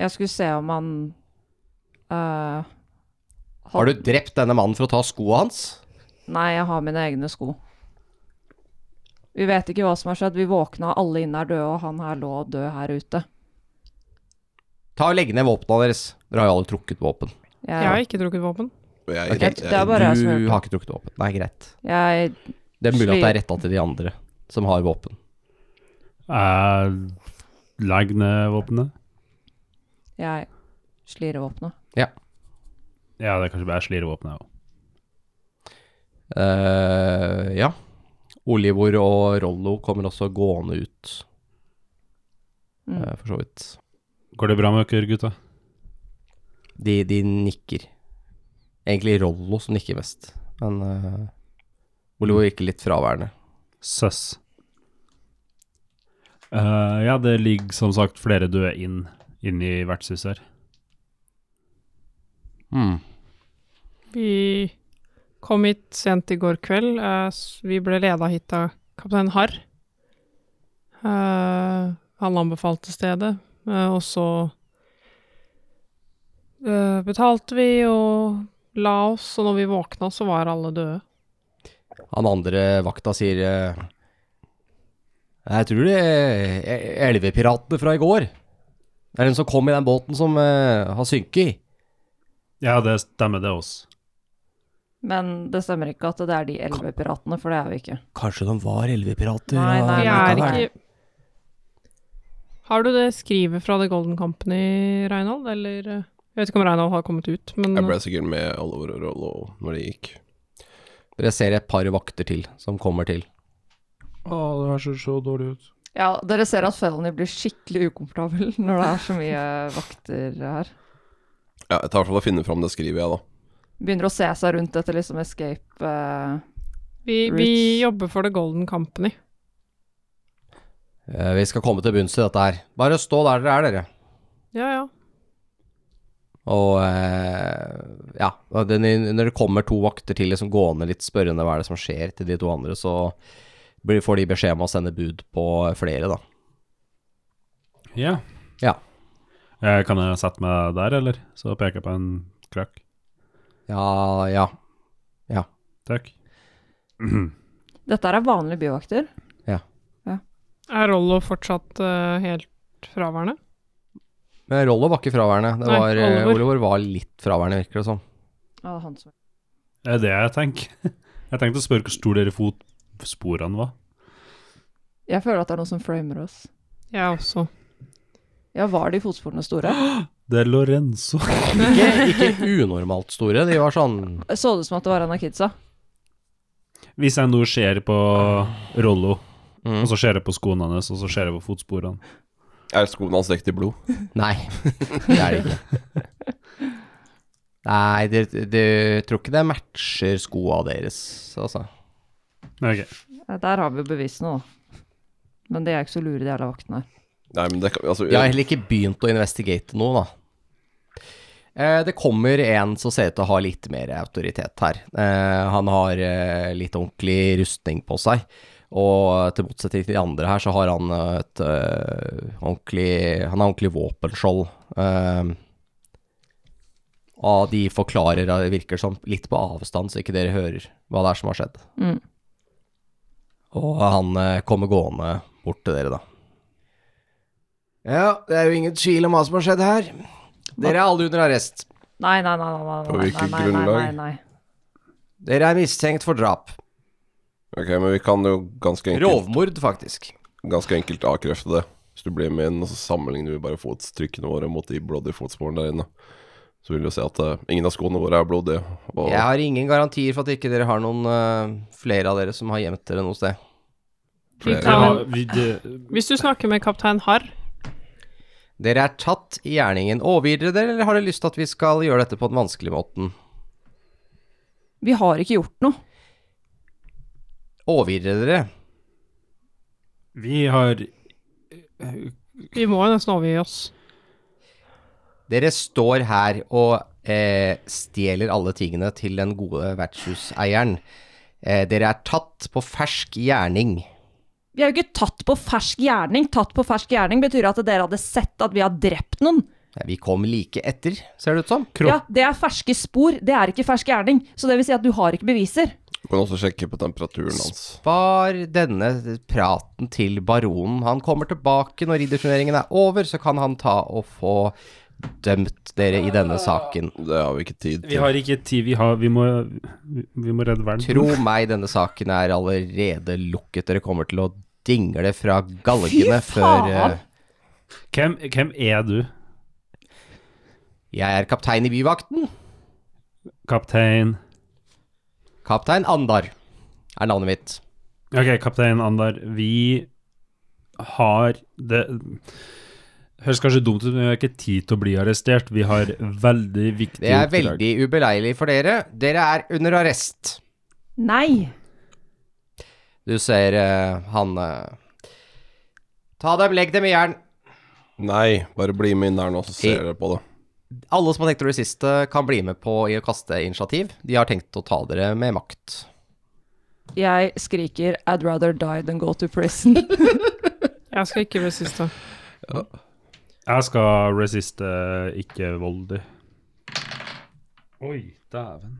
D: Jeg skulle se om han eh,
B: Har du drept denne mannen for å ta skoa hans?
D: Nei, jeg har mine egne sko. Vi vet ikke hva som har skjedd. Vi våkna, alle inne er døde, og han her lå død her ute.
B: Ta og Legg ned våpnene deres. Dere har jo aldri trukket våpen.
D: Jeg,
F: jeg har ikke drukket våpen.
A: Jeg,
B: Ok.
D: Det er bare jeg som
B: du
D: gjør det.
B: har ikke trukket våpen. Nei, greit.
D: jeg
B: Det er mulig at det
D: Slik.
B: er retta til de andre som har våpen.
C: Eh, Legg ned våpenet.
D: Jeg slirer våpenet.
C: Ja, det er kanskje bare slirevåpenet òg.
B: Eh, ja. Olivor og Rollo kommer også gående ut.
D: Mm.
B: Eh, for så vidt.
C: Går det bra med dere, gutta?
B: De, de nikker. Egentlig Rollo som nikker mest. Men eh, Olivor virker litt fraværende.
C: Søss. Eh, ja, det ligger som sagt flere døde inn inni vertshuset her.
F: Vi kom hit sent i går kveld. Eh, s- vi ble leda hit av kaptein Harr. Eh, han anbefalte stedet, eh, og så eh, betalte vi og la oss, og når vi våkna, så var alle døde.
B: Han andre vakta sier eh, Jeg tror det er elvepiratene fra i går. Det er den som kom i den båten som eh, har synket i.
C: Ja, det stemmer, det oss.
D: Men det stemmer ikke at det er de elleve piratene, for det er vi ikke.
B: Kanskje de var elvepirater?
D: Nei,
B: ja,
D: nei,
F: Vi
D: nei,
F: er
B: likevel.
D: nei.
F: ikke Har du det skrivet fra The Golden Company, Reinhold, eller eh, Jeg vet ikke om Reinhold har kommet ut, men
A: jeg ble sikkert med Oliver og Rollo når de gikk.
B: Dere ser et par vakter til som kommer til.
C: Å, det her ser så dårlig ut.
D: Ja, dere ser at Felony blir skikkelig ukomfortabel når det er så mye vakter her.
A: Ja, jeg tar i hvert fall og finner fram det skrivet, jeg, da.
D: Begynner å se seg rundt etter liksom escape eh,
F: vi, vi jobber for The Golden Company.
B: Eh, vi skal komme til bunns i dette her. Bare stå der dere er, dere.
F: Ja, ja.
B: Og eh, ja, og det, når det kommer to vakter til liksom gående litt spørrende hva er det som skjer til de to andre, så blir, får de beskjed om å sende bud på flere, da.
C: Ja.
B: Ja.
C: Eh, kan jeg sette meg der, eller? Så peker jeg på en krakk.
B: Ja, ja.
C: Takk.
D: Dette her er vanlige byvakter.
F: Er Rollo fortsatt eh, helt fraværende?
B: Men Rollo var ikke fraværende. Det
F: Nei,
B: var, eh,
F: Oliver.
B: Oliver var litt fraværende, virker det som.
D: Ja, det er han som
C: Det er det jeg tenker. Jeg tenkte å spørre hvor stor dere fotsporene var.
D: Jeg føler at det er noen som framer oss.
F: Jeg også.
D: Ja, var de fotsporene store?
C: Det er Lorenzo.
B: Ikke, ikke unormalt store, de var sånn
D: Så det som at det var en av kidsa?
C: Hvis jeg nå ser på Rollo,
B: mm.
C: og så ser jeg på skoene hans, og så ser jeg på fotsporene
A: Er skoene hans dekt i blod?
B: Nei, det er det ikke. Nei, det, det tror ikke det matcher skoa deres, altså.
C: Ok.
D: Ja, Der har vi jo bevisene, da. Men de er ikke så lure, de jævla vaktene her.
A: Nei, men det kan altså,
B: Jeg har heller ikke begynt å investigate noe, da. Eh, det kommer en som ser ut til å ha litt mer autoritet her. Eh, han har eh, litt ordentlig rustning på seg, og til motsetning til de andre her, så har han eh, et eh, ordentlig Han har ordentlig våpenskjold. Eh, og de forklarer, eh, virker som, litt på avstand, så ikke dere hører hva det er som har skjedd.
D: Mm.
B: Og han eh, kommer gående
G: bort til dere, da.
B: Ja, det er jo ingen tvil om hva som har skjedd her. Dere er alle under arrest.
D: Nei, nei, nei. nei, nei, nei
A: På hvilket
D: nei, nei,
A: grunnlag?
D: Nei, nei, nei.
B: Dere er mistenkt for drap.
A: Ok, men vi kan jo ganske enkelt,
B: Rovmord, faktisk.
A: ganske enkelt avkrefte det. Hvis du blir med inn, og så sammenligner vi bare fotstrykkene våre mot de blodige fotsporene der inne. Så vil du se at eh, ingen av skoene våre er blodige. Og
B: Jeg har ingen garantier for at ikke dere har noen eh, flere av dere som har gjemt dere noe sted.
A: flere-
F: Ja, men-
C: vi, det,
F: Hvis du snakker med kaptein Harr
B: Dere er tatt i gjerningen. Overgir dere dere, eller har dere lyst til at vi skal gjøre dette på den vanskelige måten?
D: Vi har ikke gjort noe.
B: Overgir dere dere?
C: vi har
F: Vi må jo nesten overgi oss.
B: Dere står her og eh, stjeler alle tingene til den gode vertshuseieren. Eh, dere er tatt på fersk gjerning.
D: Vi er jo ikke tatt på fersk gjerning. Tatt på fersk gjerning betyr at dere hadde sett at vi har drept noen.
B: Eh, Vi kom like etter, ser det ut som.
C: Kropp.
D: Ja, Det er ferske spor, det er ikke fersk gjerning. Så det vil si at du har ikke beviser.
A: Du kan også sjekke på temperaturen hans.
B: Spar denne praten til baronen. Han kommer tilbake når ridderturneringen er over, så kan han ta og få dømt dere i denne saken.
A: Det har vi ikke tid
C: Vi
A: til.
C: har ikke tid, vi har Vi må, vi, vi må redde verden.
B: Tro meg, denne saken er allerede lukket. Dere kommer til å dingle fra galgene
D: Fy
B: før eh,
D: faen!
C: Hvem, hvem er du?
B: Jeg er kaptein i byvakten.
C: Kaptein
B: Kaptein Andar er navnet mitt.
C: Ok, kaptein Andar, vi har Det høres kanskje dumt ut, men vi har ikke tid til å bli arrestert. Vi har veldig viktige
B: Det er
C: oppdrag.
B: veldig ubeleilig for dere. Dere er under arrest.
D: Nei.
B: Du ser eh, han eh, Ta dem, legg dem i jern.
A: Nei, bare bli med inn her nå, så
B: I-
A: ser dere på det.
B: Alle som har tenkt å resiste, kan bli med på i å kaste initiativ. De har tenkt å ta dere med makt.
D: Jeg skriker 'I'd rather die than go to prison'.
F: Jeg skal ikke resiste.
C: Jeg skal resiste ikke voldig. Oi, dæven.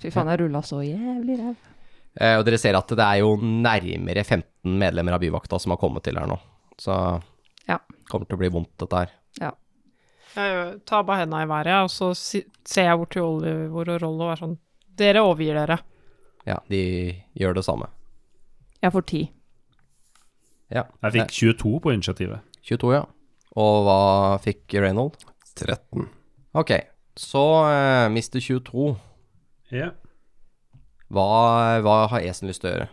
D: Fy faen, jeg rulla så jævlig ræv.
B: Eh, og dere ser at det er jo nærmere 15 medlemmer av byvakta som har kommet til her nå. Så
D: Ja.
B: kommer til å bli vondt, dette her.
F: Jeg ø, tar bare hendene i været, jeg, og så si ser jeg bort til Oliver og Rollo og er sånn Dere overgir dere.
B: Ja, de gjør det samme.
D: Jeg får ti.
B: Ja.
C: Jeg fikk 22 på initiativet.
B: Eh, 22, ja. Og hva fikk Reynold?
A: 13.
B: Ok, så eh, Mr. 22.
C: Ja.
B: Hva, hva har Esen lyst til å gjøre?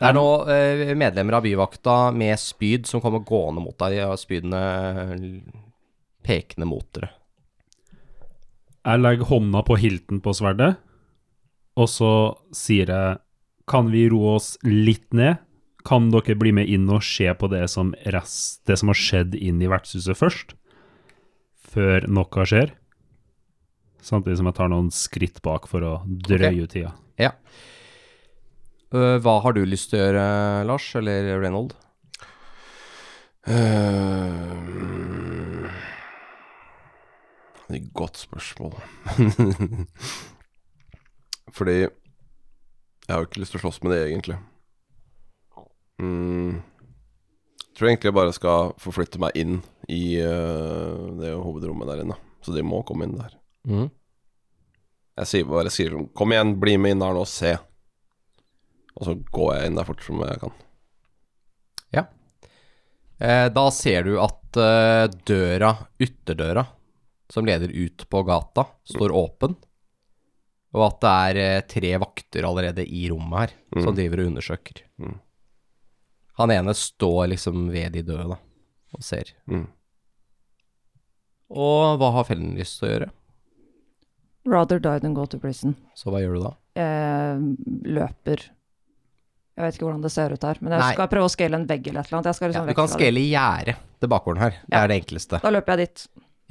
B: Det er nå eh, medlemmer av byvakta med spyd som kommer gående mot deg, og spydene eh, pekende mot dere.
C: Jeg legger hånda på hilten på sverdet, og så sier jeg Kan vi roe oss litt ned? Kan dere bli med inn og se på det som, rest, det som har skjedd inn i vertshuset først? Før noe skjer? Samtidig som jeg tar noen skritt bak for å drøye ut tida.
B: Ja. Eh, hva har du lyst til å gjøre, Lars, eller Reynold?
A: Eh, Det er et godt spørsmål. Fordi jeg har jo ikke lyst til å slåss med det, egentlig. Mm. Jeg tror egentlig jeg bare skal forflytte meg inn i eh, det hovedrommet der inne. Så de må komme inn der. Jeg sier bare sier sånn Kom igjen, bli med inn her nå, se. Og så går jeg inn der fort som jeg kan.
B: Ja. Eh, da ser du at eh, døra, ytterdøra, som leder ut på gata, står åpen. Og at det er eh, tre vakter allerede i rommet her, som driver og undersøker.
A: Mm.
B: Han ene står liksom ved de døde, da, og ser.
A: Mm.
B: Og hva har fellen lyst til å gjøre?
D: Rather die than go to prison.
B: Så hva gjør du da?
D: Eh, løper. Jeg vet ikke hvordan det ser ut her, men jeg
B: Nei.
D: skal prøve å scale en vegg eller et eller annet. Jeg skal liksom
B: Ja, du
D: vekk
B: kan
D: fra det.
B: skele i gjerdet til bakgården her. Det
D: Ja.
B: er det enkleste.
D: Da løper jeg dit.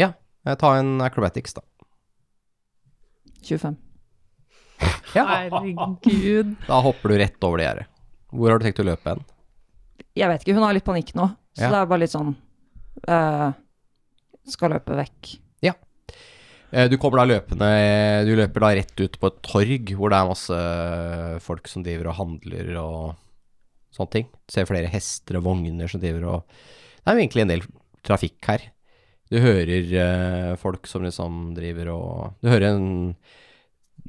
B: Ja, eh, ta en acrobatics, da.
D: 25.
B: Ja,
F: Herregud.
B: da hopper du rett over det gjerdet. Hvor har du tenkt å løpe hen?
D: Jeg vet ikke, hun har litt panikk nå, så
B: Ja.
D: det er bare litt sånn eh, Skal løpe vekk.
B: Eh, Du kommer da løpende eh, Du løper eh, da rett ut på et torg hvor det er masse folk som driver og handler og sånne ting. Du ser flere hester og vogner som driver og Det er jo egentlig en del trafikk her. Du hører eh, folk som liksom driver og Du hører en,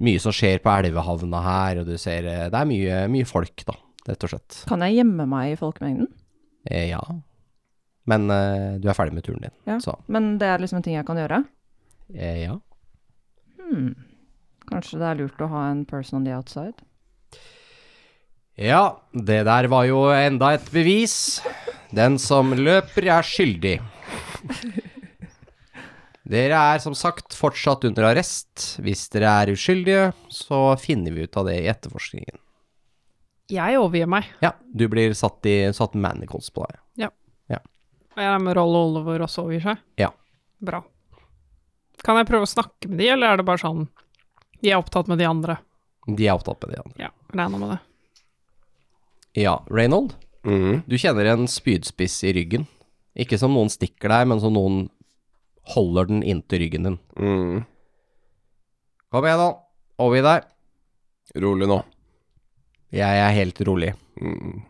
B: mye som skjer på elvehavna her, og du ser eh, Det er mye, mye folk, da, rett og slett.
D: Kan jeg gjemme meg i folkemengden?
B: Eh, ja. Men eh, du er ferdig med turen din,
D: Ja.
B: så
D: Men det er liksom en ting jeg kan gjøre.
B: eh, ja.
D: Hmm. Kanskje det er lurt å ha en person on the outside?
B: Ja, det der var jo enda et bevis. Den som løper, er skyldig. Dere er som sagt fortsatt under arrest. Hvis dere er uskyldige, så finner vi ut av det i etterforskningen.
F: Jeg overgir meg.
B: Ja, du blir satt i satt manicals på deg.
F: Og jeg er med Roll Oliver også overgir seg.
B: Ja.
F: Bra. Kan jeg prøve å snakke med de, eller er det bare sånn De er opptatt med de andre.
B: De er opptatt med det. Jan.
F: Ja, regner med det.
B: Ja, Reynold,
A: Mhm.
B: du kjenner en spydspiss i ryggen. Ikke som noen stikker deg, men som noen holder den inntil ryggen din.
A: Mhm.
B: Kom igjen, da. Overgi deg.
A: Rolig nå.
B: Jeg er helt rolig.
A: Mhm.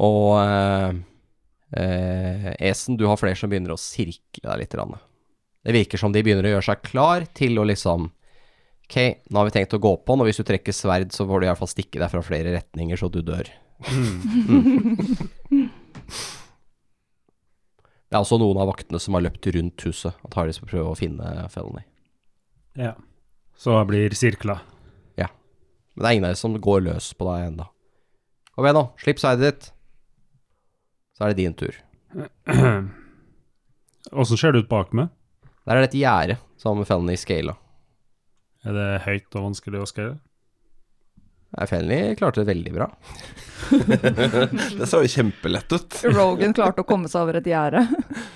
B: Og eh, eh, Esen, du har flere som begynner å sirkle deg litt. grann. Det virker som de begynner å gjøre seg klar til å liksom Ok, nå har vi tenkt å gå på den, og hvis du trekker sverd, så får du iallfall stikke deg fra flere retninger, så du dør. Mm. Det er også noen av vaktene som har løpt rundt huset og tar de som prøver å finne Felony.
C: Ja. Så jeg blir sirkla.
B: Men det er ingen av dem som går løs på deg ennå. Kom igjen, nå. Slipp sverdet ditt. Så er det din tur.
C: Åssen ser det ut bak meg?
B: Der er det et gjerde som Felny scala.
C: Er det høyt og vanskelig å skjære?
B: Nei, Felny klarte det veldig bra.
A: Det så jo kjempelett ut.
D: Rogan klarte å komme seg over et gjerde.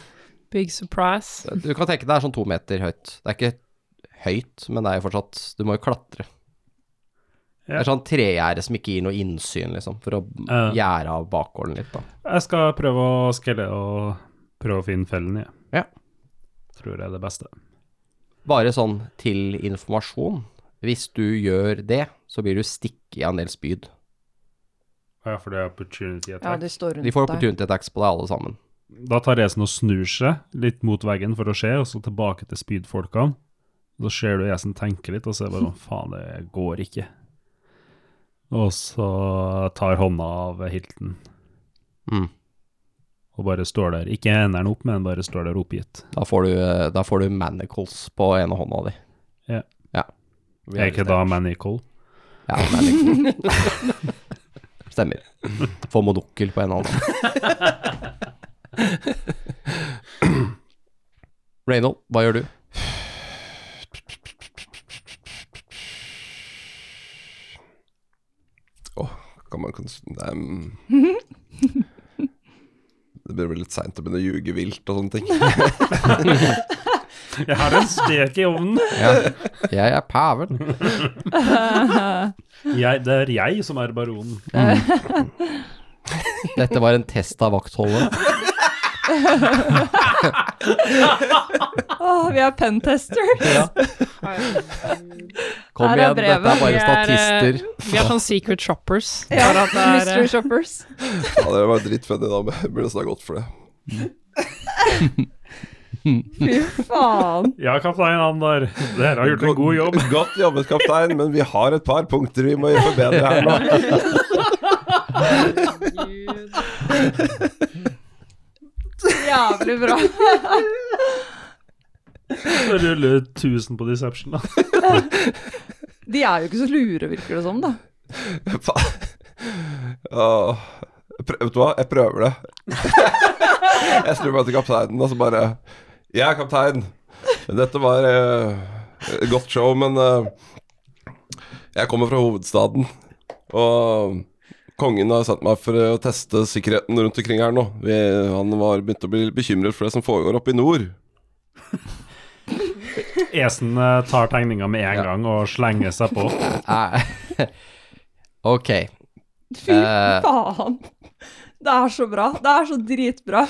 F: Big surprise.
B: Du kan tenke deg det er sånn to meter høyt. Det er ikke høyt, men det er jo fortsatt Du må jo klatre. Det
C: Ja.
B: er sånn tregjerde som ikke gir noe innsyn, liksom, for å
C: Ja.
B: gjære av bakgården litt, da.
C: Jeg skal prøve å skjelle og prøve å finne fellen i.
B: Ja.
C: Tror jeg er det beste.
B: Bare sånn til informasjon. Hvis du gjør det, så blir du stikk i en del spyd.
C: Ja, for det er opportunity
D: Ja,
C: attack.
D: de står rundt
B: De får
D: deg.
B: opportunity attacks på deg, alle sammen.
C: Da tar Esen og snur seg litt mot veggen for å se, og så tilbake til spydfolkene. Da ser du Esen tenke litt, og så er det bare sånn Faen, det går ikke. Og så tar hånda av hilten
B: Mm.
C: og bare står der. Ikke hendene opp, men bare står der oppgitt.
B: Da får du, eh, da får du manacles på ene hånda di.
C: Ja.
B: ja.
C: Er ikke da Manical?
B: Ja, det er litt Stemmer. Få monokkel på en hånd. Reynold, hva gjør du?
A: Kan man kons- Nei, mm. Det blir vel litt seint å begynne å ljuge vilt og sånne ting.
C: Jeg har en stek i ovnen!
B: Jeg er paven.
C: Jeg, det er jeg som er baronen.
B: Dette var en test av vaktholdet.
D: Åh, vi er pentesters!
B: Kom
D: Her
B: igjen, dette
D: er
B: er
D: brevet.
F: Vi
B: bare
F: er, eh,
B: statister.
F: Vi er sånn secret shoppers.
D: Ja,
F: Bare at det er,
D: Mystery
F: eh,
D: shoppers.
A: Ja, det var dritfunny, da. men Jeg burde nesten ha gått for det.
D: Fy faen.
C: Ja, kaptein, han der. Dere har gjort en god jobb.
A: Godt jobbet, kaptein, men vi har et par punkter vi må forbedre her nå.
F: eh,
D: Jævlig bra.
C: Så ruller 1000 på deception, da.
D: De er jo ikke så lure, virker det som, da.
A: Faen. Åh. Jeg prø- Vet du hva, jeg prøver det. Jeg snur meg til kapteinen og så bare Jeg er kaptein. Dette var eh, et godt show, men eh, jeg kommer fra hovedstaden. Og kongen har sendt meg for å teste sikkerheten rundt omkring her nå. Vi, han var begynt å bli bekymret for det som foregår oppe i nord.
C: Esen eh, tar tegninga med en
B: Ja.
C: gang og slenger seg på.
B: Eh, Ok.
D: Fy
B: Eh.
D: faen. Det er så bra. Det er så dritbra.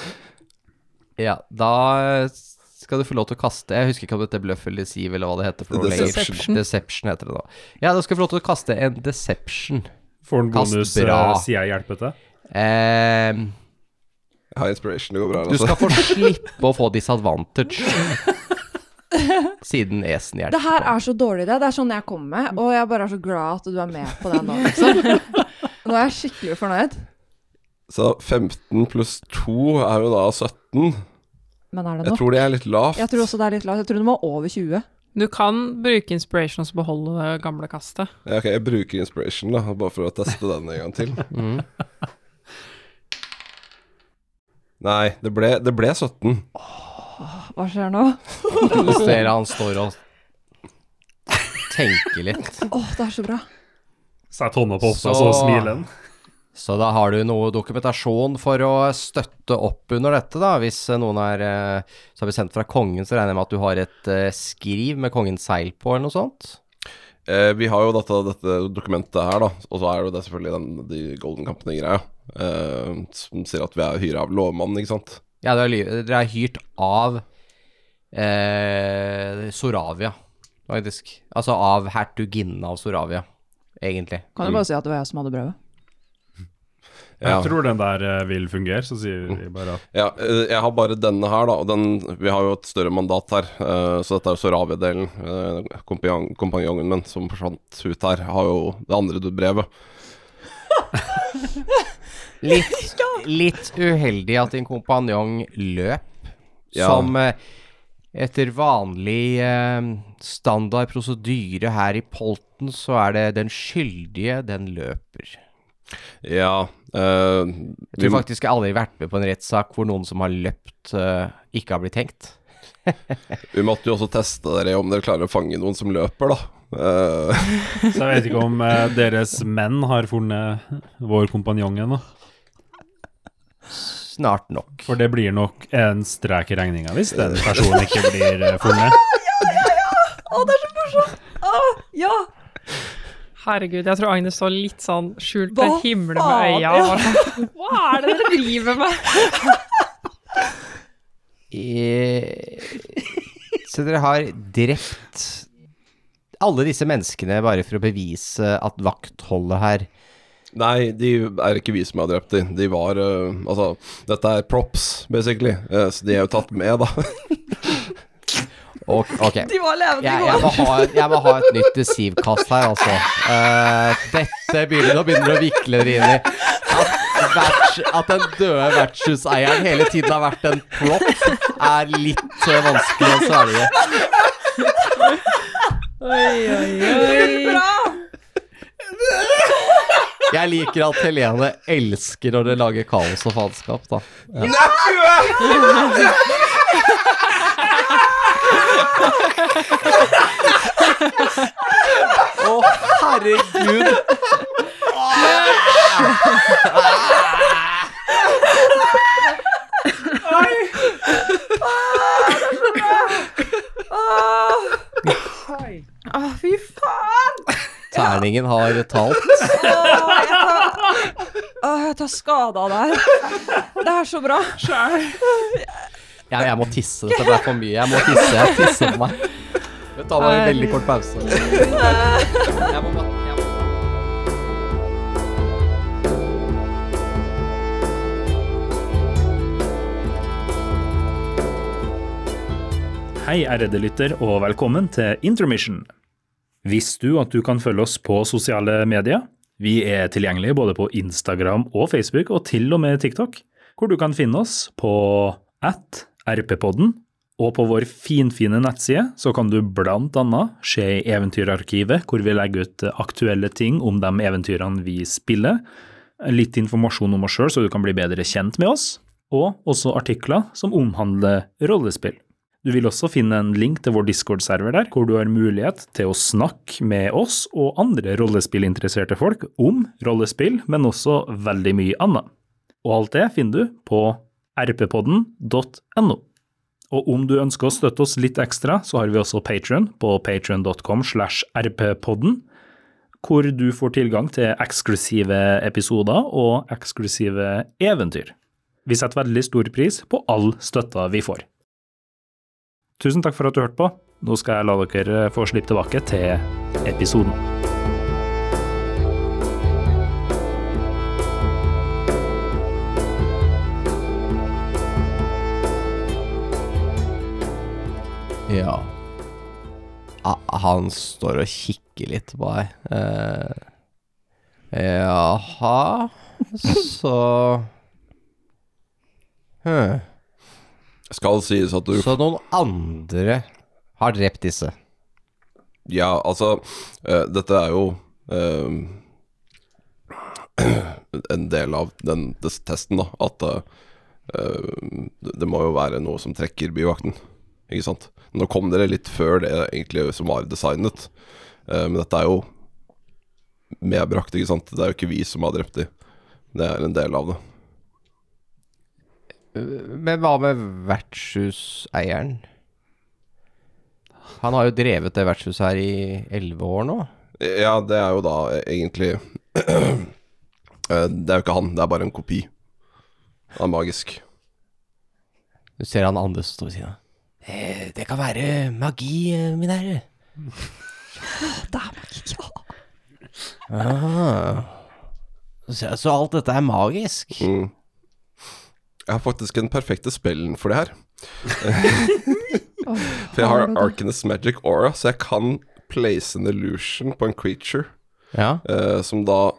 B: Ja, da skal du få lov til å kaste Jeg husker ikke om dette er bløff eller siv eller hva det heter. For noe lenger.
A: Deception.
B: Deception heter det da. Ja, da skal du få lov til å kaste en deception
H: Får han
B: Kast
H: bonus
B: bra.
H: eh, sier jeg hjelper til?
B: Eh,
A: Jeg har inspiration, det går bra. her,
B: du
A: Altså.
B: skal få slippe å få disadvantage. Siden esen hjelper
D: Det her
B: på.
D: er så dårlig idé. Det er sånn jeg kommer med. Og jeg bare er så glad at du er med på det nå, liksom. Nå er jeg skikkelig fornøyd.
A: Så 15 pluss 2 er jo da 17.
D: Men er det
A: Jeg
D: nok?
A: tror det er litt lavt.
D: Jeg tror også det er litt lavt. Jeg tror det må over 20.
F: Du kan bruke inspiration og så beholde det gamle kastet.
A: Ja, ok, jeg bruker inspiration, da, bare for å teste den en gang til.
B: Mm.
A: Nei, det ble, det ble 17.
D: Hva skjer nå?
B: Du ser han står og tenker litt.
D: Åh, det er så bra.
H: Sett hånda på hofta, så,
B: Så-
H: smiler han.
B: Så da har du noe dokumentasjon for å støtte opp under dette, da. Hvis eh, noen er eh, Så har vi sendt fra kongen, så regner jeg med at du har et eh, skriv med kongens seil på, eller noe sånt?
A: Eh, vi har jo dette, dette dokumentet her, da, og så er det jo det selvfølgelig den, de Golden Company-greia, eh, som sier at vi er hyra av lovmannen, ikke sant.
B: Ja, dere er, ly- dere er hyrt av eh, Soravia, faktisk. Altså av hertuginnen av Soravia, egentlig.
D: Kan du bare si at det var jeg som hadde brevet?
A: Ja.
H: Jeg tror den der eh, vil fungere, så sier
B: Mm.
H: vi bare at
A: Ja, eh, jeg har bare denne her, da, og den Vi har jo et større mandat her, eh, så dette er jo Soravia-delen. Eh, kompanjong- Kompanjongen min som forsvant ut her, har jo det andre du- brevet.
B: Litt, litt uheldig at din kompanjong løp,
A: Ja.
B: som eh, etter vanlig eh, standard prosedyre her i Polten, så er det den skyldige, den løper.
A: Ja eh,
B: Jeg tror
A: vi-
B: faktisk jeg aldri har vært med på en rettssak hvor noen som har løpt, eh, ikke har blitt hengt.
A: Vi måtte jo også teste dere om dere klarer å fange noen som løper, da. Eh,
H: Så jeg vet ikke om eh, deres menn har funnet vår kompanjong ennå.
B: Snart nok.
H: For det blir nok en strek i regninga hvis den personen ikke blir eh, funnet.
D: Ja!
F: Herregud, jeg tror Agnes står litt sånn skjult til
D: Hva
F: himmelen med
D: faen?
F: øya.
D: Ja.
F: og bare, Hva er det dere driver med?
B: Eh, Så dere har drept alle disse menneskene bare for å bevise at vaktholdet her
A: nei, de er ikke vi som har drept de. De var eh, Altså, dette er props, basically. Eh, så de er jo tatt med, da.
B: Ok. ok.
D: De var levende
B: Jeg,
D: i
B: jeg,
D: går.
B: må ha, jeg må ha et nytt deceivkast her, altså. Eh, dette begynner nå begynner å vikle dere inn i. At, verts, at den døde vertshuseieren hele tiden har vært en prop, er litt eh, vanskelig å svelge. Jeg liker at Helene elsker når det lager kaos og faenskap, da. Å, herregud!
D: Å, fy faen!
B: Terningen har talt.
D: Åh, jeg tar, åh, jeg tar skade av det her. Det er så bra.
B: Jeg, jeg må tisse. Dette ble for mye. Jeg må tisse. Jeg tisser på meg. Vi tar bare en veldig kort pause. Jeg må bare- jeg må-
C: Hei, ærede lytter, og velkommen til Intermission. Visste du at du kan følge oss på sosiale medier? Vi er tilgjengelige både på Instagram og Facebook, og til og med TikTok, hvor du kan finne oss på at rppodden, og på vår finfine nettside så kan du blant annet se i Eventyrarkivet, hvor vi legger ut aktuelle ting om de eventyrene vi spiller, litt informasjon om oss sjøl så du kan bli bedre kjent med oss, og også artikler som omhandler rollespill. Du vil også finne en link til vår Discord-server der, hvor du har mulighet til å snakke med oss og andre rollespillinteresserte folk om rollespill, men også veldig mye annet. Og alt det finner du på rppodden.no. Og om du ønsker å støtte oss litt ekstra, så har vi også Patron på patron.com slash rppodden, hvor du får tilgang til eksklusive episoder og eksklusive eventyr. Vi setter veldig stor pris på all støtta vi får. Tusen takk for at du hørte på. Nå skal jeg la dere få slippe tilbake til episoden.
B: Ja. Ah, Han står og kikker litt på deg. Eh, jaha, så Hm.
A: Skal sies at du
B: Så noen andre har drept disse.
A: Ja, altså eh, Dette er jo eh, en del av den des- testen, da. At eh, eh, det- det må jo være noe som trekker byvakten, ikke sant. Nå kom dere litt før det egentlig som var designet, eh, men dette er jo medbrakt, ikke sant. Det er jo ikke vi som har drept de. Det er en del av det.
B: Men hva med vertshuseieren? Han har jo drevet det vertshuset her i elleve år nå.
A: Ja, det er jo da egentlig eh, Det er jo ikke han, det er bare en kopi. Han er magisk.
B: Du ser han andre som står ved siden av. Eh, det kan være magi, eh, min herre. Ja, det er magi, ja. Så, så alt dette er magisk?
A: Mm. Jeg har faktisk den perfekte spellen for det her. for jeg har Arcanes Magic Aura, så jeg kan place an illusion på en creature
B: Ja.
A: eh, som da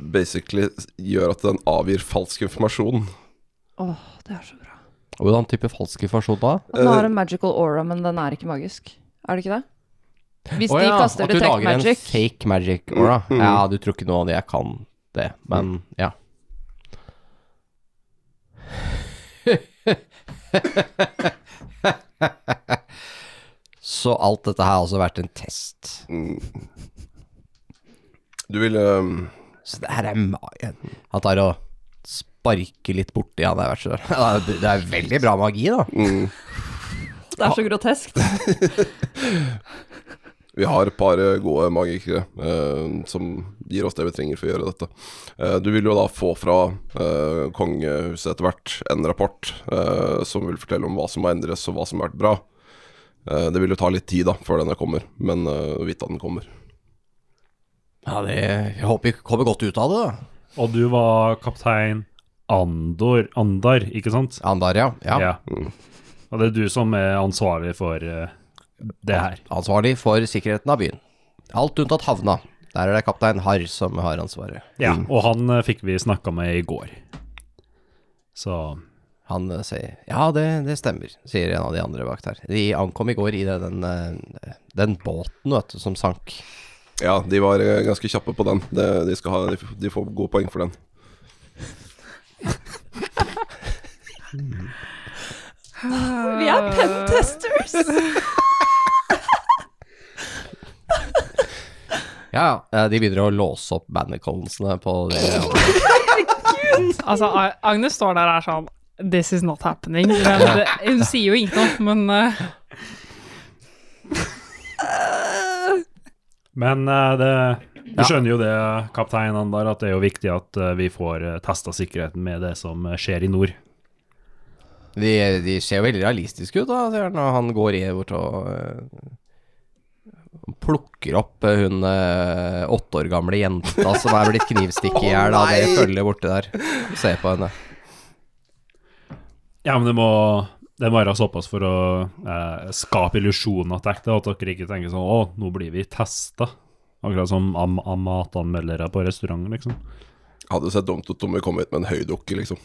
A: basically gjør at den avgir falsk informasjon.
D: Åh, det er så bra.
B: Hvordan type falsk informasjon da?
D: At den har
A: Eh,
D: en magical aura, men den er ikke magisk. Er det ikke det? Hvis de kaster
B: At du
D: detect
B: lager en
D: magic
B: fake magic aura. Ja, du tror ikke noe av det jeg kan det, men ja. Så alt dette her har altså vært en test.
A: Du vil eh,
B: Så det her er magen. Han tar og sparker litt borti han der, vær så snill. Det er veldig bra magi, da.
D: Det er så groteskt.
A: Vi har et par eh, gode magikere eh, som gir oss det vi trenger for å gjøre dette. Eh, du vil jo da få fra eh, kongehuset etter hvert en rapport eh, som vil fortelle om hva som må endres, og hva som har vært bra. Eh, det vil jo ta litt tid da, før denne kommer, men eh, vite at den kommer.
B: Ja, det, jeg håper vi kommer godt ut av det, da.
C: Og du var kaptein Andor, Andar, ikke sant?
B: Andar, ja. ja.
C: Og det er du som er ansvarlig for eh, det her.
B: Ansvarlig for sikkerheten av byen. Alt unntatt havna. Der er det kaptein Harr som har ansvaret.
C: Ja, og han eh, fikk vi snakka med i går. Så
B: Han eh, sier Ja, det, det stemmer, sier en av de andre bak der. De ankom i går i det, den, eh, den båten, vet du, som sank.
A: Ja, de var eh, ganske kjappe på den. Det, de, skal ha, de, f- de får gode poeng for den.
D: Vi er pentesters!
B: Ja, ja. eh, De begynner å låse opp bandiconsene på det.
F: Altså, A- Agnes står der og er sånn This is not happening. Men det, hun sier jo ingenting, men eh,
C: Men eh, det Du skjønner jo det, kaptein Andar, at det er jo viktig at eh, vi får uh, testa sikkerheten med det som eh, skjer i nord.
B: De, de ser jo veldig realistiske ut, da, sier han, og han går i bort og eh, plukker opp eh, hun eh, åtte år gamle jenta som er blitt knivstukket i hjel av det følget borti der. Se på henne.
C: Ja, men det må, det må være såpass for å eh, skape illusjonen at det er ekte, at dere ikke tenker sånn Å, nå blir vi testa. Akkurat som am am matanmeldere på restaurant, liksom.
A: Hadde sett dumt ut om vi kom hit med en høydukke, liksom.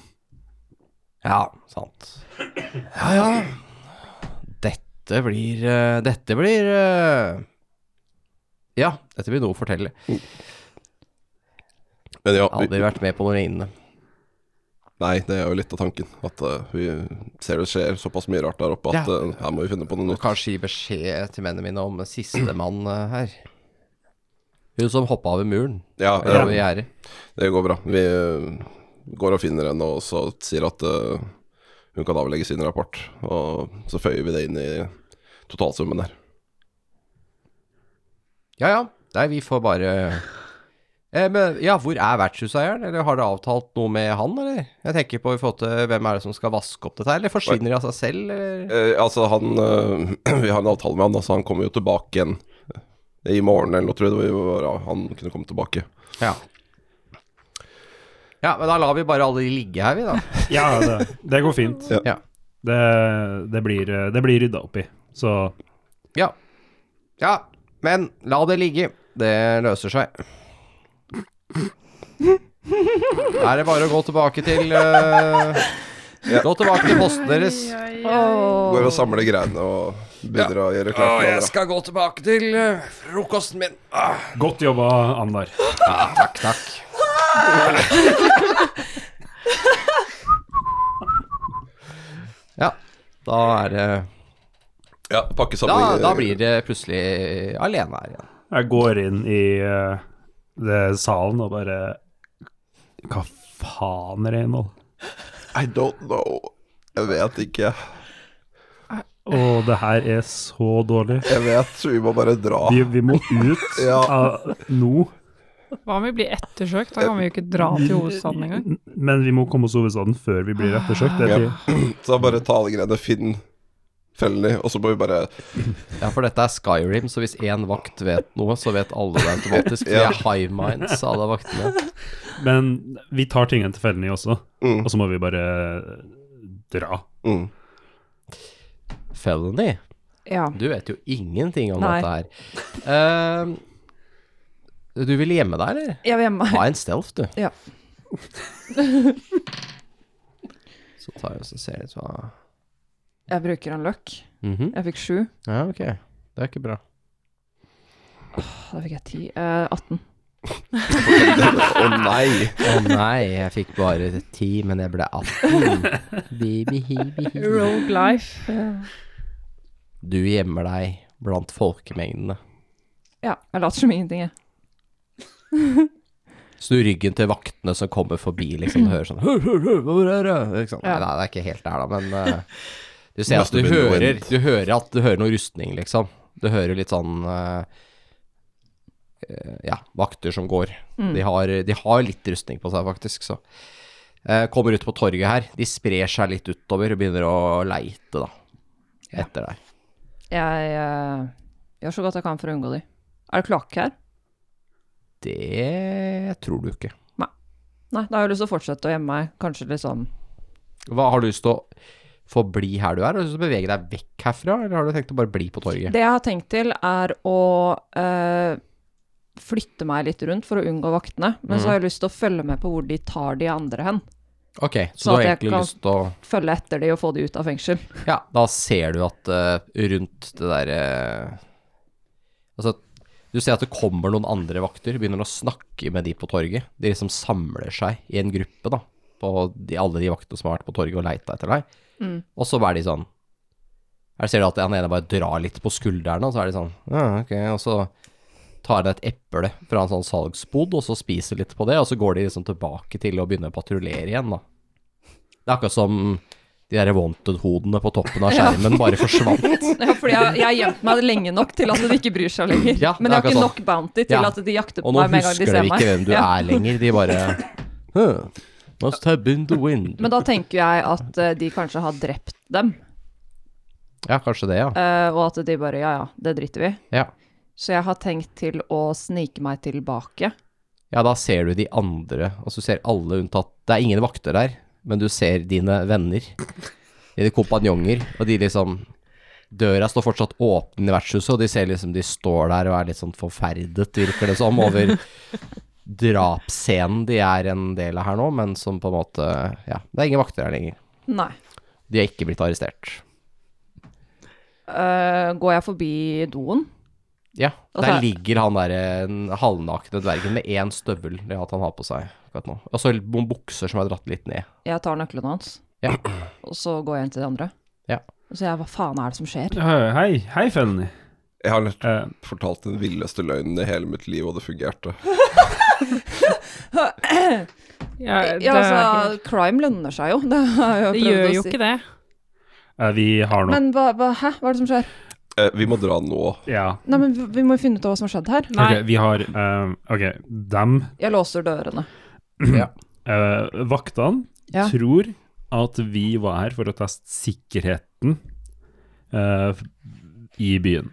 B: Ja, sant. Ja, ja. Dette blir eh, Dette blir eh, Ja, dette blir noe å fortelle.
A: Men ja, vi,
B: Aldri vært med på noe lignende.
A: nei, det er jo litt av tanken. At eh, vi ser det skjer såpass mye rart der oppe at
B: Ja.
A: eh, her må vi finne på noe
B: Må
A: nytt.
B: kanskje gi beskjed til mennene mine om sistemann eh, her. Hun som hoppa over muren.
A: Ja,
B: Eller
A: eh,
B: over gjerdet.
A: Det går bra. Vi eh, går og finner henne og så sier at eh, hun kan avlegge sin rapport. Og så føyer vi det inn i totalsummen der.
B: Ja ja, nei, vi får bare eh, men, ja, Hvor er vertshuseieren? Eller har dere avtalt noe med han, eller? Jeg tenker på i forhold til eh, hvem er det som skal vaske opp dette her, eller forsvinner de av seg selv, eller?
A: Eh, altså, han eh, Vi har en avtale med han, så han kommer jo tilbake igjen eh, i morgen eller noe, tror jeg det var. ja, Han kunne komme tilbake.
B: Ja. ja, men da lar vi bare alle de ligge her, vi, da.
C: Ja, det, det går fint.
A: Ja.
B: Ja.
C: Det, det blir, eh, det blir rydda opp i. Så
B: Ja. Ja, men la det ligge. Det løser seg. Da er det bare å gå tilbake til eh, Gå tilbake til posten deres.
A: Går og samler greiene og begynner å gjøre klart. for hverandre.
B: skal gå tilbake til eh, frokosten min.
C: godt jobba, Andar.
B: Takk, takk. Ja, da er det
A: Ja,
B: da,
A: pakkesamling
B: da blir det plutselig alene her igjen.
C: Jeg går inn i eh, det salen og bare Hva faen, Reynold?
A: I don't know. Jeg vet ikke.
C: Og det her er så dårlig.
A: Jeg vet, så vi må bare dra.
C: Vi, vi må ut
A: Ja.
C: av, nå.
F: Hva om vi blir ettersøkt? Da kan vi jo ikke dra til hovedstaden engang.
C: Men vi må komme oss over sånn før vi blir ettersøkt. Det
A: Ja.
C: er tid.
A: Så bare ta alle greiene, finn Felny, og så må vi bare
B: Ja, for dette er Skyrim, så hvis én vakt vet noe, så vet alle det automatisk. Vi
A: Ja.
B: er hive minds, alle vaktene.
C: Men vi tar tingene til fellene i også,
A: Mm.
C: og så må vi bare dra.
A: mm.
B: Felony.
D: Ja.
B: Du vet jo ingenting om
D: Nei.
B: dette her. Ehm, du vil gjemme deg, eller?
D: Jeg vil hjemme.
B: Ha en stealth, du.
D: Ja.
B: Så tar jeg og så ser jeg litt hva
D: Jeg bruker en løkk.
B: Mhm.
D: Jeg fikk sju.
B: Ja, ok. Det er ikke bra.
D: Da fikk jeg ti. Eh, 18.
A: Å nei!
B: Å nei, jeg fikk bare ti, men jeg ble 18. Bibi, hi, bi, hi.
F: Rogue life.
B: Du gjemmer deg blant folkemengdene.
D: Ja, jeg later som ingenting, jeg.
B: Snu ryggen til vaktene som kommer forbi, liksom, og hører sånn hør, hør, hør, hvor er det? Liksom. Nei,
D: Ja.
B: nei, det er ikke helt der, da, men eh, du ser at
A: Must
B: du
A: have been the
B: hører,
A: wind.
B: du hører at du hører noe rustning, liksom. Du hører litt sånn eh, eh, ja, vakter som går. De, har, de har litt rustning på seg, faktisk, så. Eh, kommer ut på torget her. De sprer seg litt utover og begynner å leite, da. Etter deg.
D: Jeg eh, gjør så godt jeg kan for å unngå de. Er det kloakk her?
B: Det tror du ikke.
D: Nei, da har jeg lyst til å fortsette å gjemme meg. Kanskje liksom
B: Hva Har du lyst til å forbli her du er? Har du lyst til å bevege deg vekk herfra, eller har du tenkt å bare bli på torget?
D: Det jeg har tenkt til, er å eh, flytte meg litt rundt for å unngå vaktene. Men så har
B: Mhm.
D: jeg lyst til å følge med på hvor de tar de andre hen.
B: Ok, så, du
D: Så Sånn at
B: har
D: jeg
B: egentlig
D: kan-
B: lyst til å
D: Følge etter de og få de ut av fengsel.
B: Ja, da ser du at eh, rundt det derre Altså, du ser at det kommer noen andre vakter, begynner å snakke med de på torget. De liksom samler seg i en gruppe, da, på de, alle de vaktene som har vært på torget og leita etter deg. Og så er de sånn Her ser du at han ene bare drar litt på skuldrene, og så er de sånn ja, ok, og så tar han et eple fra en sånn salgsbod, og så spiser litt på det, og så går de liksom tilbake til å begynne å patruljere igjen, da. Det er akkurat som de der wanted-hodene på toppen av skjermen bare forsvant.
D: Ja, fordi jeg, jeg har gjemt meg lenge nok til at de ikke bryr seg lenger.
B: Ja, det er
D: Men jeg har ikke
B: akkurat sånn.
D: nok bounty til
B: Ja.
D: at de jakter på
B: Og nå
D: meg med en gang de
B: husker de
D: ser
B: ikke
D: meg.
B: hvem du
D: Ja.
B: er lenger. De bare «Huh, Must have been the wind.
D: Men da tenker jeg at eh, de kanskje har drept dem,
B: Ja, kanskje det, ja.
D: eh, og at de bare ja ja, det driter vi i.
B: ja.
D: Så jeg har tenkt til å snike meg tilbake.
B: Ja, da ser du de andre, og så ser alle unntatt Det er ingen vakter der, men du ser dine venner, dine kompanjonger, og de liksom Døra står fortsatt åpen i vertshuset, og de ser liksom de står der og er litt sånn forferdet, virker det som, over drapsscenen de er en del av her nå, men som på en måte Ja, det er ingen vakter her lenger.
D: Nei.
B: De er ikke blitt arrestert.
D: Eh, går jeg forbi doen?
B: Ja,
D: Og
B: der
D: så-
B: ligger han der den halvnakne dvergen med én støvel det er at han har på seg akkurat nå. Og så noen bukser som er dratt litt ned.
D: Jeg tar nøklene hans,
B: Ja.
D: og så går jeg inn til de andre.
B: Ja.
D: Og så jeg, hva faen er det som skjer?
C: Hei, hei, Fellny.
A: Jeg har lett
C: Eh,
A: fortalt den villeste løgnen i hele mitt liv, og det fungerte.
F: Ja, det,
D: Ja,
F: er
D: altså,
F: helt-
D: crime lønner seg jo. Det har jeg jo
F: det
D: prøvd
F: gjør
D: å
F: jo
D: si.
F: ikke det.
C: eh, vi har noe
D: Men hva, hva, hæ, hva er det som skjer?
A: Eh, vi må dra nå.
C: Ja.
D: Nei, men vi- vi må jo finne ut av hva som har skjedd her.
C: Ok,
F: Nei.
C: vi har eh, Ok, dem,
D: Jeg låser dørene.
C: eh, vaktene,
D: Ja.
C: tror at vi var her for å teste sikkerheten eh, i byen.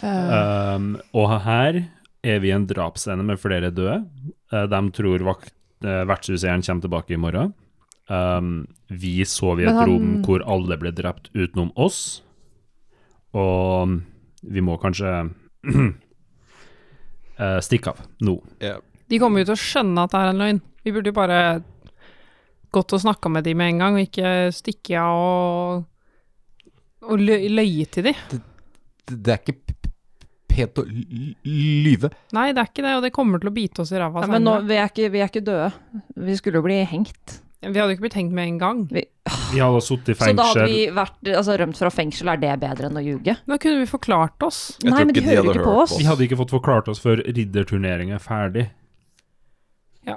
D: Eh.
C: Um, og her er vi i en drapsscene med flere døde. Eh, de tror vakt, eh, vertshuseieren kommer tilbake i morgen. Um, vi sov i
D: Men
C: et
D: han-
C: rom hvor alle ble drept utenom oss. og vi må kanskje eh, stikke av nå.
A: Ja.
F: De kommer jo til å skjønne at det er en løgn. Vi burde jo bare gått og snakka med de med en gang, og ikke stikke av og, og lø- løye til de.
B: Det, det er ikke p- p- pent å l- l- lyve.
F: Nei, det er ikke det, og det kommer til å bite oss i ræva.
D: Ja, men nå,
F: senere.
D: vi, er ikke, vi er ikke døde. Vi skulle jo bli hengt.
F: Vi hadde jo ikke blitt hengt med en gang.
C: Vi hadde sittet i
D: Så da hadde
C: fengsel.
D: vi vært, altså, rømt fra fengsel. Er det bedre enn å ljuge?
F: Da kunne vi forklart oss.
A: Jeg
D: Nei,
A: tror
D: men de
A: ikke de
D: hører
A: hadde
D: ikke på
A: hørt
D: oss.
A: på
C: Vi hadde ikke fått forklart oss før ridderturneringen er ferdig.
F: Ja.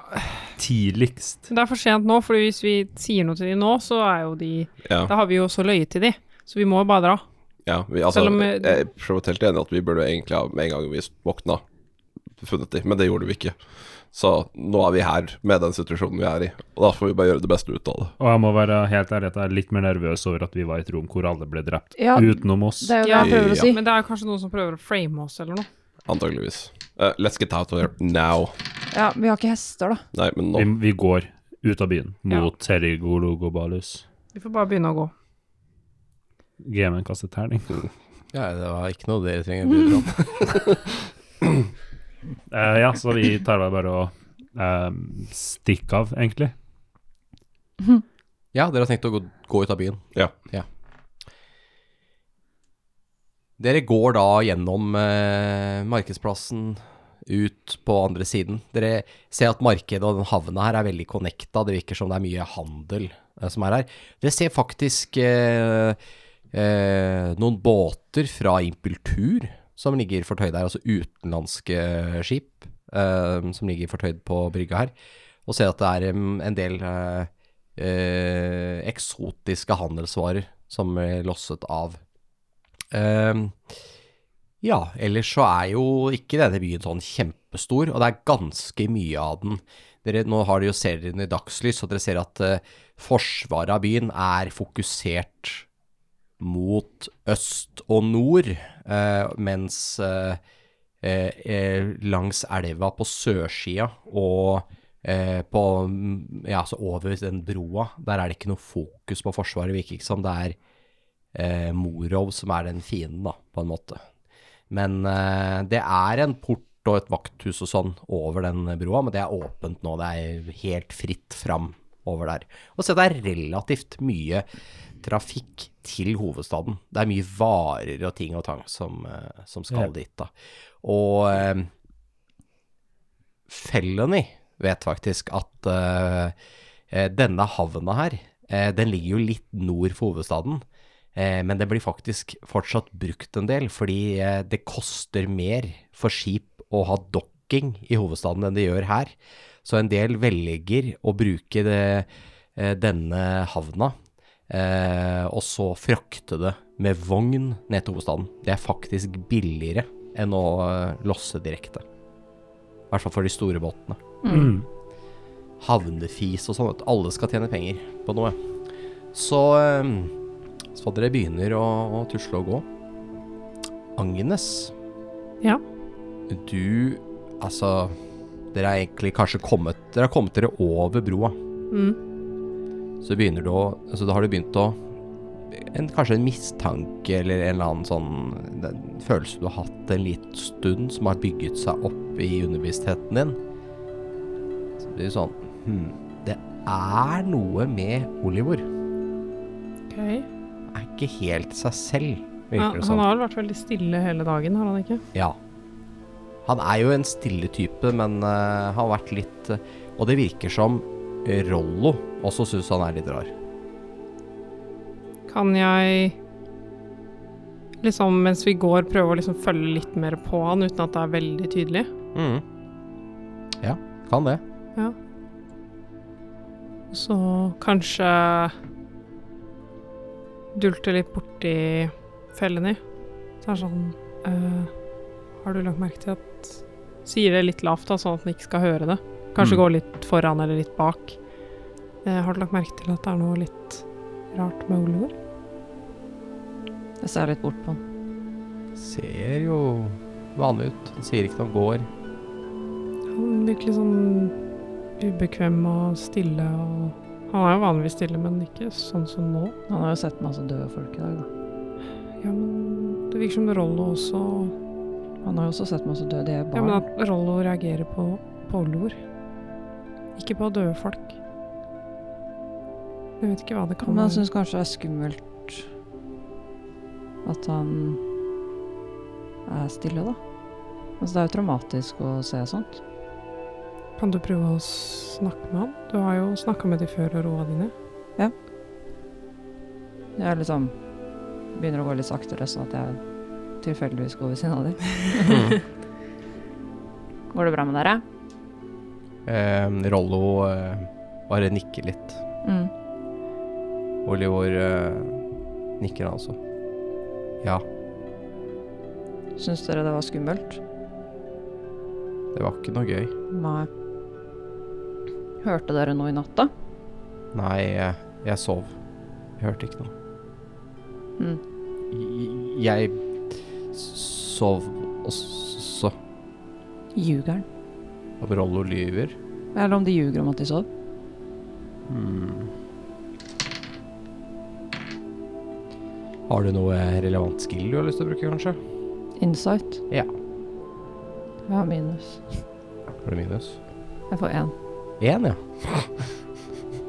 C: Tidligst.
F: Det er for sent nå, for hvis vi sier noe til de nå, så er jo de
A: Ja.
F: Da har vi jo også løyet til de, så vi må jo bare dra.
A: Ja, vi, altså,
F: Selv om, eh,
A: jeg er for så vidt helt enig i at vi burde egentlig ha med en gang vi våkna, funnet de, men det gjorde vi ikke. Så nå er vi her med den situasjonen vi er i, og da får vi bare gjøre det beste ut av det.
C: Og jeg må være helt ærlig at jeg er litt mer nervøs over at vi var i et rom hvor alle ble drept,
D: Ja,
C: utenom oss.
D: det er jo det
F: Ja.
D: jeg prøver å si.
F: Men det er kanskje noen som prøver å frame oss eller noe.
A: Antakeligvis. Eh, let's get out of here now.
D: Ja, vi har ikke hester, da.
A: Nei, men nå
C: Vi, vi går ut av byen
F: Ja.
C: mot Terrigolo Globalus.
F: Vi får bare begynne å gå.
C: GM-en kastet terning.
B: Ja, det var ikke noe dere trenger å bry dere om.
C: Eh, ja, så vi tar vel bare og eh, stikker av, egentlig.
B: Ja, dere har tenkt å gå, gå ut av byen.
A: Ja.
B: Dere går da gjennom eh, markedsplassen ut på andre siden. Dere ser at markedet og den havna her er veldig connecta. Det virker som det er mye handel eh, som er her. Dere ser faktisk eh, eh, noen båter fra Impultur som ligger fortøyd her, altså utenlandske skip eh, som ligger fortøyd på brygga her. Og ser at det er em, en del eh, eh, eksotiske handelsvarer som er losset av. Ehm, ja, ellers så er jo ikke denne byen sånn kjempestor, og det er ganske mye av den. Dere, nå har dere jo serien i dagslys, og dere ser at eh, forsvaret av byen er fokusert mot øst og nord, eh, mens eh, eh, eh, langs elva på sørsida og eh, på, mm, ja, altså over den broa, der er det ikke noe fokus på forsvaret, virker ikke som det er eh, Morov som er den fienden, da, på en måte. Men eh, det er en port og et vakthus og sånn over den broa, men det er åpent nå. Det er helt fritt fram over der. Og så det er relativt mye trafikk til hovedstaden. Det er mye varer og ting og tang som, eh, som skal dit, da. Og eh, Felony vet faktisk at eh, eh, denne havna her, eh, den ligger jo litt nord for hovedstaden. Eh, men det blir faktisk fortsatt brukt en del, fordi eh, det koster mer for skip å ha dokking i hovedstaden enn det gjør her. Så en del velger å bruke det, eh, denne havna, eh, og så frakte det med vogn ned til hovedstaden. Det er faktisk billigere enn å eh, losse direkte. I hvert fall for de store båtene. Havnefis og sånn. vet du. Alle skal tjene penger på noe. Så eh, så dere begynner å, å tusle og gå. Agnes.
F: Ja.
B: Du Altså, dere er egentlig kanskje kommet Dere har kommet dere over broa.
F: Mm.
B: Så begynner du å Altså, da har du begynt å en, Kanskje en mistanke eller en eller annen sånn den følelse du har hatt en liten stund, som har bygget seg opp i underbevisstheten din. Så blir det sånn Hm, det er noe med Oliver.
F: Ok.
B: Er ikke helt seg selv,
F: Ja,
B: virker det sånn. som.
F: han har vel vært veldig stille hele dagen, har han ikke?
B: Ja. Han er jo en stille type, men eh, har vært litt eh, Og det virker som Rollo også syns han er litt rar.
F: Kan jeg liksom mens vi går, prøve å liksom følge litt mer på han uten at det er veldig tydelig?
B: Mm. Ja, kan det.
F: Så kanskje dulte litt borti fellene. Så er det sånn eh, Har du lagt merke til at Sier det litt lavt, da, sånn at han ikke skal høre det. Kanskje
C: Mm.
F: gå litt foran eller litt bak. Eh, har du lagt merke til at det er noe litt rart med Oliver?
D: Jeg ser litt bort på den.
B: Ser jo vanlig ut. Han sier ikke noe om går.
F: Han virker litt sånn ubekvem og stille og Han er jo vanligvis stille, men ikke sånn som nå.
D: Han har jo sett masse døde folk i dag, da.
F: Ja, men Det virker som Rollo også
D: Han har jo også sett masse døde barn.
F: Ja, men at Rollo reagerer på polloer. Ikke på døde folk. Jeg vet ikke hva det kan
D: Men jeg
F: være.
D: syns kanskje det er skummelt at han er stille, da. Altså, det er jo traumatisk å se sånt.
F: Kan du prøve å snakke med han? Du har jo snakka med de før og roa de ned.
D: Jeg liksom begynner å gå litt saktere, sånn at jeg tilfeldigvis går ved siden av dem. går det bra med dere?
B: Eh, Rollo eh, bare nikker litt.
D: Mm.
B: Olivor eh, nikker han også. Ja,
D: Syns dere det var skummelt?
B: det var ikke noe gøy.
D: Nei. Hørte dere noe i natt, da?
B: Nei, eh, jeg sov. Jeg hørte ikke noe.
D: Mm.
B: J- Jeg s- sov også.
D: Ljugeren.
B: Og Rollo lyver.
D: Eller om de ljuger om at de sov.
B: Har du noe relevant skill du har lyst til å bruke, kanskje?
D: Insight.
B: Ja.
D: Jeg har minus.
B: Har du minus?
D: Jeg får én.
B: Én, ja.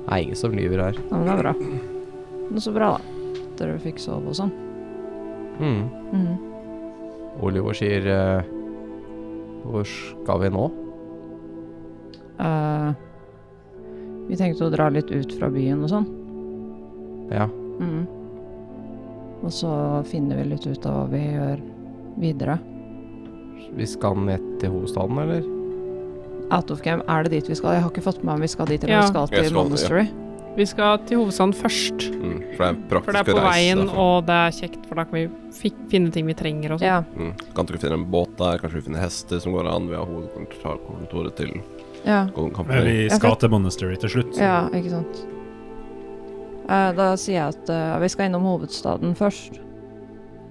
B: Det er ingen som lyver her.
D: Ja, men det er bra. Men så bra, da. Dere fikk sove og sånn.
B: Mm. Oliver sier eh, Hvor skal vi nå?
D: Eh, vi tenkte å dra litt ut fra byen og sånn.
B: Ja.
D: Mm. Og så finner vi litt ut av hva vi gjør videre.
B: Vi skal ned til hovedstaden, eller?
D: Out of game, er det dit vi skal? Jeg har ikke fått med meg om vi skal dit eller
F: Ja.
D: om vi skal
A: Jeg
D: til
A: skal- ja.
D: Monastery.
F: Vi skal til hovedstaden først,
A: Mm, for det er en
F: for det
A: praktisk
F: er på
A: å reise
F: veien,
A: derfra.
F: og det er kjekt, for da kan vi fi- finne ting vi trenger og sånn.
D: Ja.
A: Mm. Kan ikke vi finne en båt der? Kanskje vi finner hester som går an? Vi har hovedkontoret til
D: ja.
A: Golden
C: Men
A: Company.
C: vi skal til Monastery til slutt.
D: Ja, ikke sant. Eh, da sier jeg at eh, vi skal innom hovedstaden først.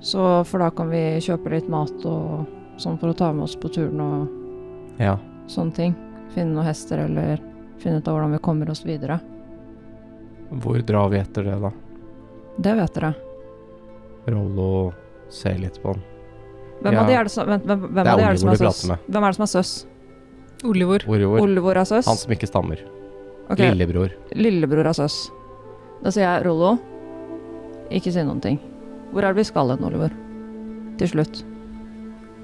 D: Så for da kan vi kjøpe litt mat og sånn for å ta med oss på turen og
B: Ja.
D: sånne ting. Finne noen hester eller finne ut av hvordan vi kommer oss videre.
B: Hvor drar vi etter det, da?
D: Det vet dere.
B: Rollo ser litt på han.
D: Hvem
B: Ja.
D: av de er det som, hvem, hvem, hvem
B: Det er
D: av de er det som
B: Oliver
D: er
B: du
D: søs?
B: prater med.
D: Hvem er det som er søs?
F: Olivor.
B: Orivor.
D: Olvor er søs?
B: Han som ikke stammer.
D: Ok,
B: Lillebror.
D: Lillebror er søs. Da sier jeg Rollo, ikke si noen ting. Hvor er det vi skal hen, Olivor? Til slutt.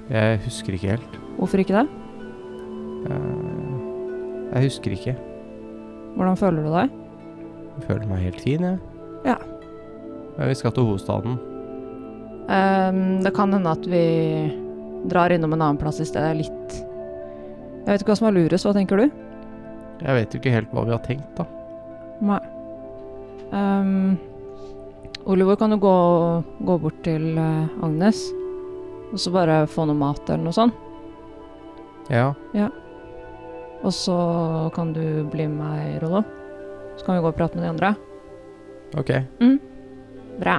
B: Jeg husker ikke helt.
D: Hvorfor ikke det?
B: Eh, Jeg husker ikke.
D: Hvordan føler du deg?
B: Jeg føler meg helt fin, jeg.
D: Ja.
B: Men vi skal til hovedstaden.
D: Ehm, det kan hende at vi drar innom en annen plass i stedet. Litt Jeg vet ikke hva som er lurest, hva tenker du?
B: Jeg vet jo ikke helt hva vi har tenkt, da.
D: Nei. Ehm, Olivor kan jo gå, gå bort til eh, Agnes og så bare få noe mat eller noe sånt.
B: Ja.
D: Og så kan du bli med meg, Rollo. Så kan vi gå og prate med de andre.
B: Ok.
D: Bra.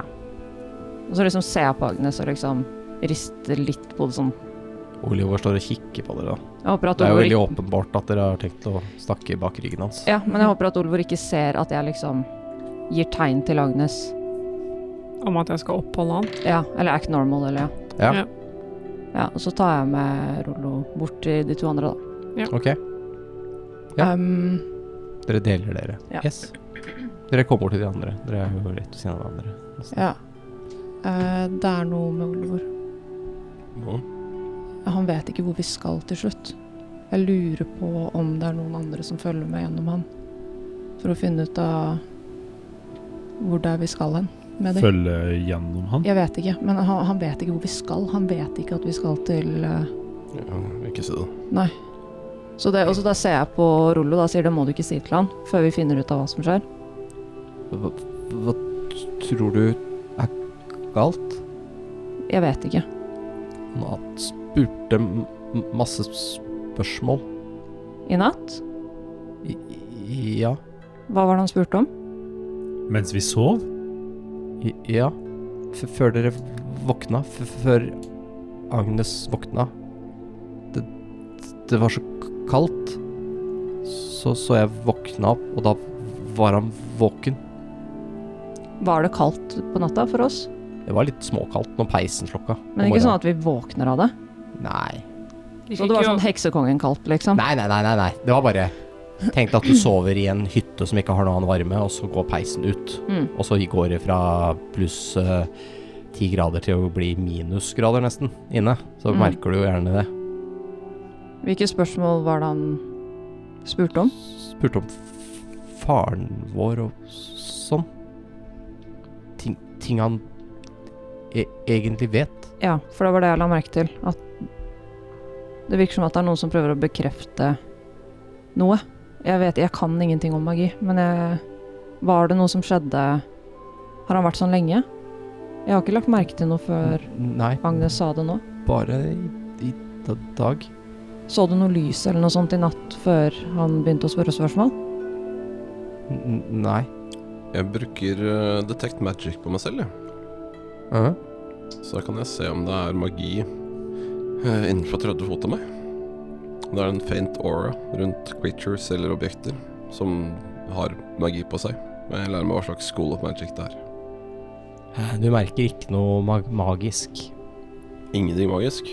D: Og så liksom ser jeg på Agnes og liksom rister litt på det sånn.
B: Oliver står og kikker på dere, da.
D: Jeg håper at
B: Det er jo
D: Olivor
B: veldig
D: ikke,
B: åpenbart at dere har tenkt å snakke bak ryggen hans.
D: ja, men jeg håper at Olivor ikke ser at jeg liksom gir tegn til Agnes.
F: Om at jeg skal oppholde han.
D: Ja, eller act normal, eller ja.
B: Ja.
F: Ja.
D: Ja, og så tar jeg med Rollo bort til de to andre, da.
B: Ok, Ja.
D: Ehm,
B: dere deler dere.
D: Ja.
B: Yes. Dere kommer bort til de andre. Dere er jo rett ved siden av hverandre.
D: ja. Eh, det er noe med Olivor.
A: Mm.
D: Han vet ikke hvor vi skal til slutt. Jeg lurer på om det er noen andre som følger med gjennom han. For å finne ut av hvor det er vi skal hen med dem.
C: Følge gjennom han.
D: Jeg vet ikke, men han, han vet ikke hvor vi skal. Han vet ikke at vi skal til eh,
A: Ja, ikke si det.
D: Så det, og så da ser jeg på Rollo da sier det må du ikke si til han før vi finner ut av hva som skjer.
B: Hva, hva tror du er galt?
D: Jeg vet ikke.
B: Han spurte m- m- masse spørsmål.
D: I natt?
B: I, i- ja.
D: Hva var det han spurte om?
C: Mens vi sov?
B: I, ja. F før dere våkna. F før Agnes våkna. Det, det var så k- kaldt. Så, så jeg våkna opp, og da var han våken.
D: Var det kaldt på natta for oss?
B: Det var litt småkaldt når peisen slokka.
D: Men ikke sånn at vi våkner av det?
B: Nei.
F: De
D: Så det
F: fikk
D: var
F: jo-
D: sånn heksekongen-kaldt, liksom?
B: Nei, nei, nei, nei, nei. Det var bare Tenk deg at du sover i en hytte som ikke har noe annen varme, og så går peisen ut.
D: Mm.
B: Og så går det fra pluss eh, ti grader til å bli minusgrader nesten inne. Så
D: Mm.
B: merker du jo gjerne det.
D: Hvilke spørsmål var det han spurte om?
B: Spurte om f- faren vår og sånn. Ting, ting han e egentlig vet.
D: Ja, for det var det jeg la merke til. At det virker som at det er noen som prøver å bekrefte noe. Jeg vet, jeg kan ingenting om magi, men jeg Var det noe som skjedde Har han vært sånn lenge? Jeg har ikke lagt merke til noe før
B: Nei,
D: Agnes sa det nå.
B: bare i, i da- dag.
D: Så du noe lys eller noe sånt i natt før han begynte å spørre spørsmål?
B: N nei.
A: Jeg bruker eh, detect magic på meg selv, jeg.
B: Mhm.
A: Så da kan jeg se om det er magi eh, innenfor 30 fot av meg. Det er en faint aura rundt creatures eller objekter som har magi på seg. Jeg lærer meg hva slags school of magic det er.
B: Eh, Du merker ikke noe mag magisk.
A: Ingenting magisk.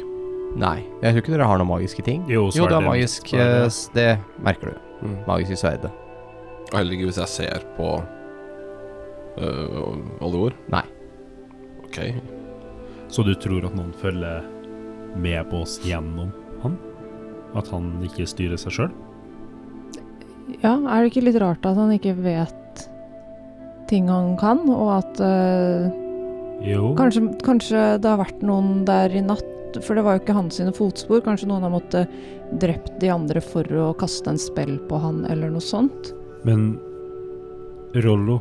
B: Nei, jeg tror ikke dere har noen magiske ting.
C: Jo,
B: jo det er
C: sverdet.
B: magisk
C: Sverdet.
B: eh, s- Det merker du.
A: Mm.
B: Magiske sverdet.
A: Og heller ikke hvis jeg ser på øh, alle ord.
B: Nei.
A: Ok.
C: Så du tror at noen følger med på oss gjennom han? At han ikke styrer seg sjøl?
D: Ja, er det ikke litt rart at han ikke vet ting han kan, og at eh,
C: Jo.
D: Kanskje, kanskje det har vært noen der i natt, for det var jo ikke hans sine fotspor. Kanskje noen har måttet drept de andre for å kaste en spell på han, eller noe sånt.
C: Men Rollo,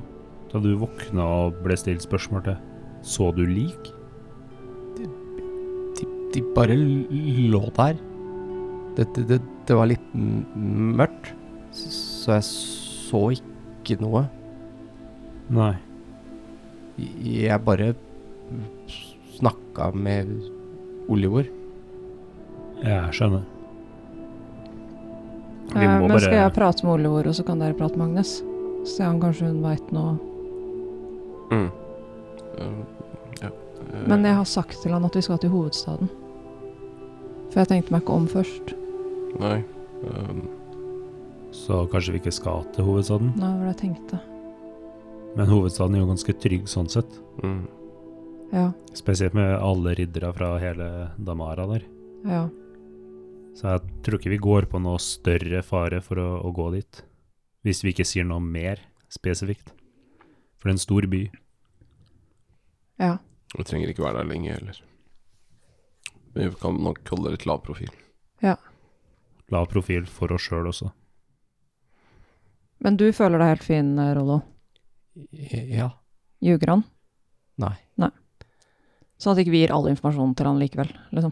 C: da du våkna og ble stilt spørsmål til, så du lik?
B: De, de bare l- lå der. Det, det, det, det var litt m- mørkt, s- så jeg så ikke noe.
C: Nei.
B: Jeg bare s- snakka med Olivor.
C: Jeg skjønner. Vi
D: Eh,
C: må
D: men skal
C: bare
D: jeg prate med Olivor, og så kan dere prate med Agnes? Se om kanskje hun veit noe.
A: Mm. Øh, ja. Øh,
D: Men jeg har sagt til han at vi skal til hovedstaden. For jeg tenkte meg ikke om først.
A: Nei. Eh, øhm,
C: Så kanskje vi ikke skal til hovedstaden?
D: Nei, det var det jeg tenkte.
C: Men hovedstaden er jo ganske trygg sånn sett.
A: mm.
D: Ja,
C: Spesielt med alle riddere fra hele Damara der.
D: ja.
C: Så jeg tror ikke vi går på noe større fare for å, å gå dit. Hvis vi ikke sier noe mer spesifikt. For det er en stor by.
D: ja.
A: Vi trenger ikke være der lenge heller. Men vi kan nok holde litt lav profil.
C: Lav profil for oss sjøl også.
D: Men du føler deg helt fin, eh, Rollo.
B: Ja.
D: Ljuger han?
B: Nei.
D: Sånn at ikke vi gir all informasjonen til han likevel, liksom.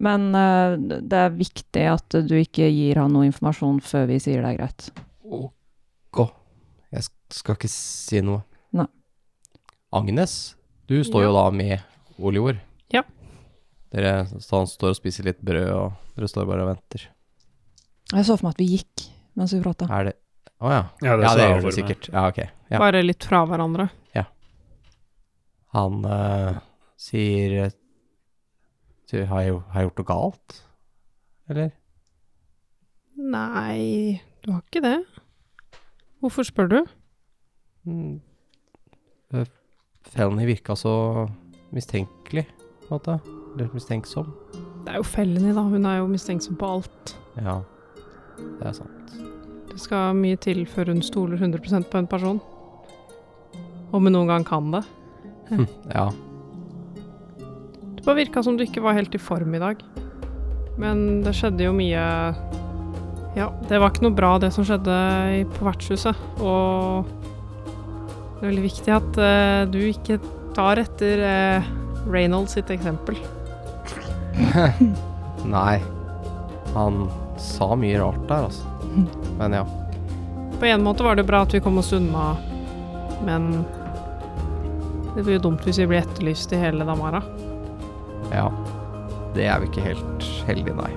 D: Men eh, det er viktig at du ikke gir han noe informasjon før vi sier det er greit.
B: OK. Jeg sk- skal ikke si noe.
D: Nei.
B: Agnes, du står jo da med Olior.
F: Ja.
B: Dere, så han står og spiser litt brød, og dere står bare og venter.
D: Jeg så for meg at vi gikk mens vi prata.
B: Er det Å ja.
C: Ja,
B: Ja,
C: sa
B: det
C: jeg
B: gjør
C: for
B: du
C: meg.
B: sikkert. Ja, ok. Ja.
F: Bare litt fra hverandre.
B: Han eh, sier eh, Du, har jeg, jo- har jeg gjort noe galt? Eller?
F: Nei, du har ikke det. Hvorfor spør du?
B: Mm. Eh, Felony virka så mistenkelig, på en måte. Eller mistenksom.
F: Det er jo Felony, da. Hun er jo mistenksom på alt.
B: Ja, det er sant.
F: Det skal mye til før hun stoler 100 på en person. Om hun noen gang kan det.
B: Hm. Ja.
F: Det bare virka som du ikke var helt i form i dag. Men det skjedde jo mye Ja, det var ikke noe bra, det som skjedde i- på vertshuset. Og det er veldig viktig at eh, du ikke tar etter eh, Reynolds sitt eksempel.
B: Nei. Han sa mye rart der, altså. Men ja.
F: På en måte var det bra at vi kom oss unna, men det blir jo dumt hvis vi blir etterlyst i hele Damara.
B: Ja. Det er vi ikke helt heldige, nei.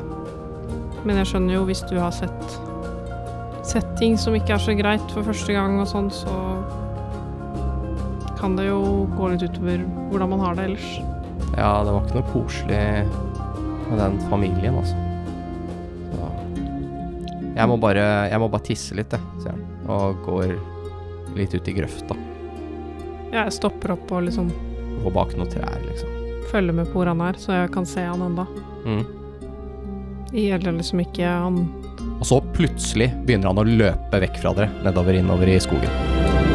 F: Men jeg skjønner jo hvis du har sett sett ting som ikke er så greit for første gang og sånn, så kan det jo gå litt utover hvordan man har det ellers.
B: Ja, det var ikke noe koselig med den familien, altså. Så. Jeg må bare, jeg må bare tisse litt, jeg, sier han. Og går litt ut i grøfta.
F: Jeg stopper opp og liksom
B: Går bak noen trær, liksom.
F: følger med på hvor han er, så jeg kan se han enda.
B: Mm.
F: Det gjelder liksom ikke han
B: Og så plutselig begynner han å løpe vekk fra dere, nedover innover i skogen.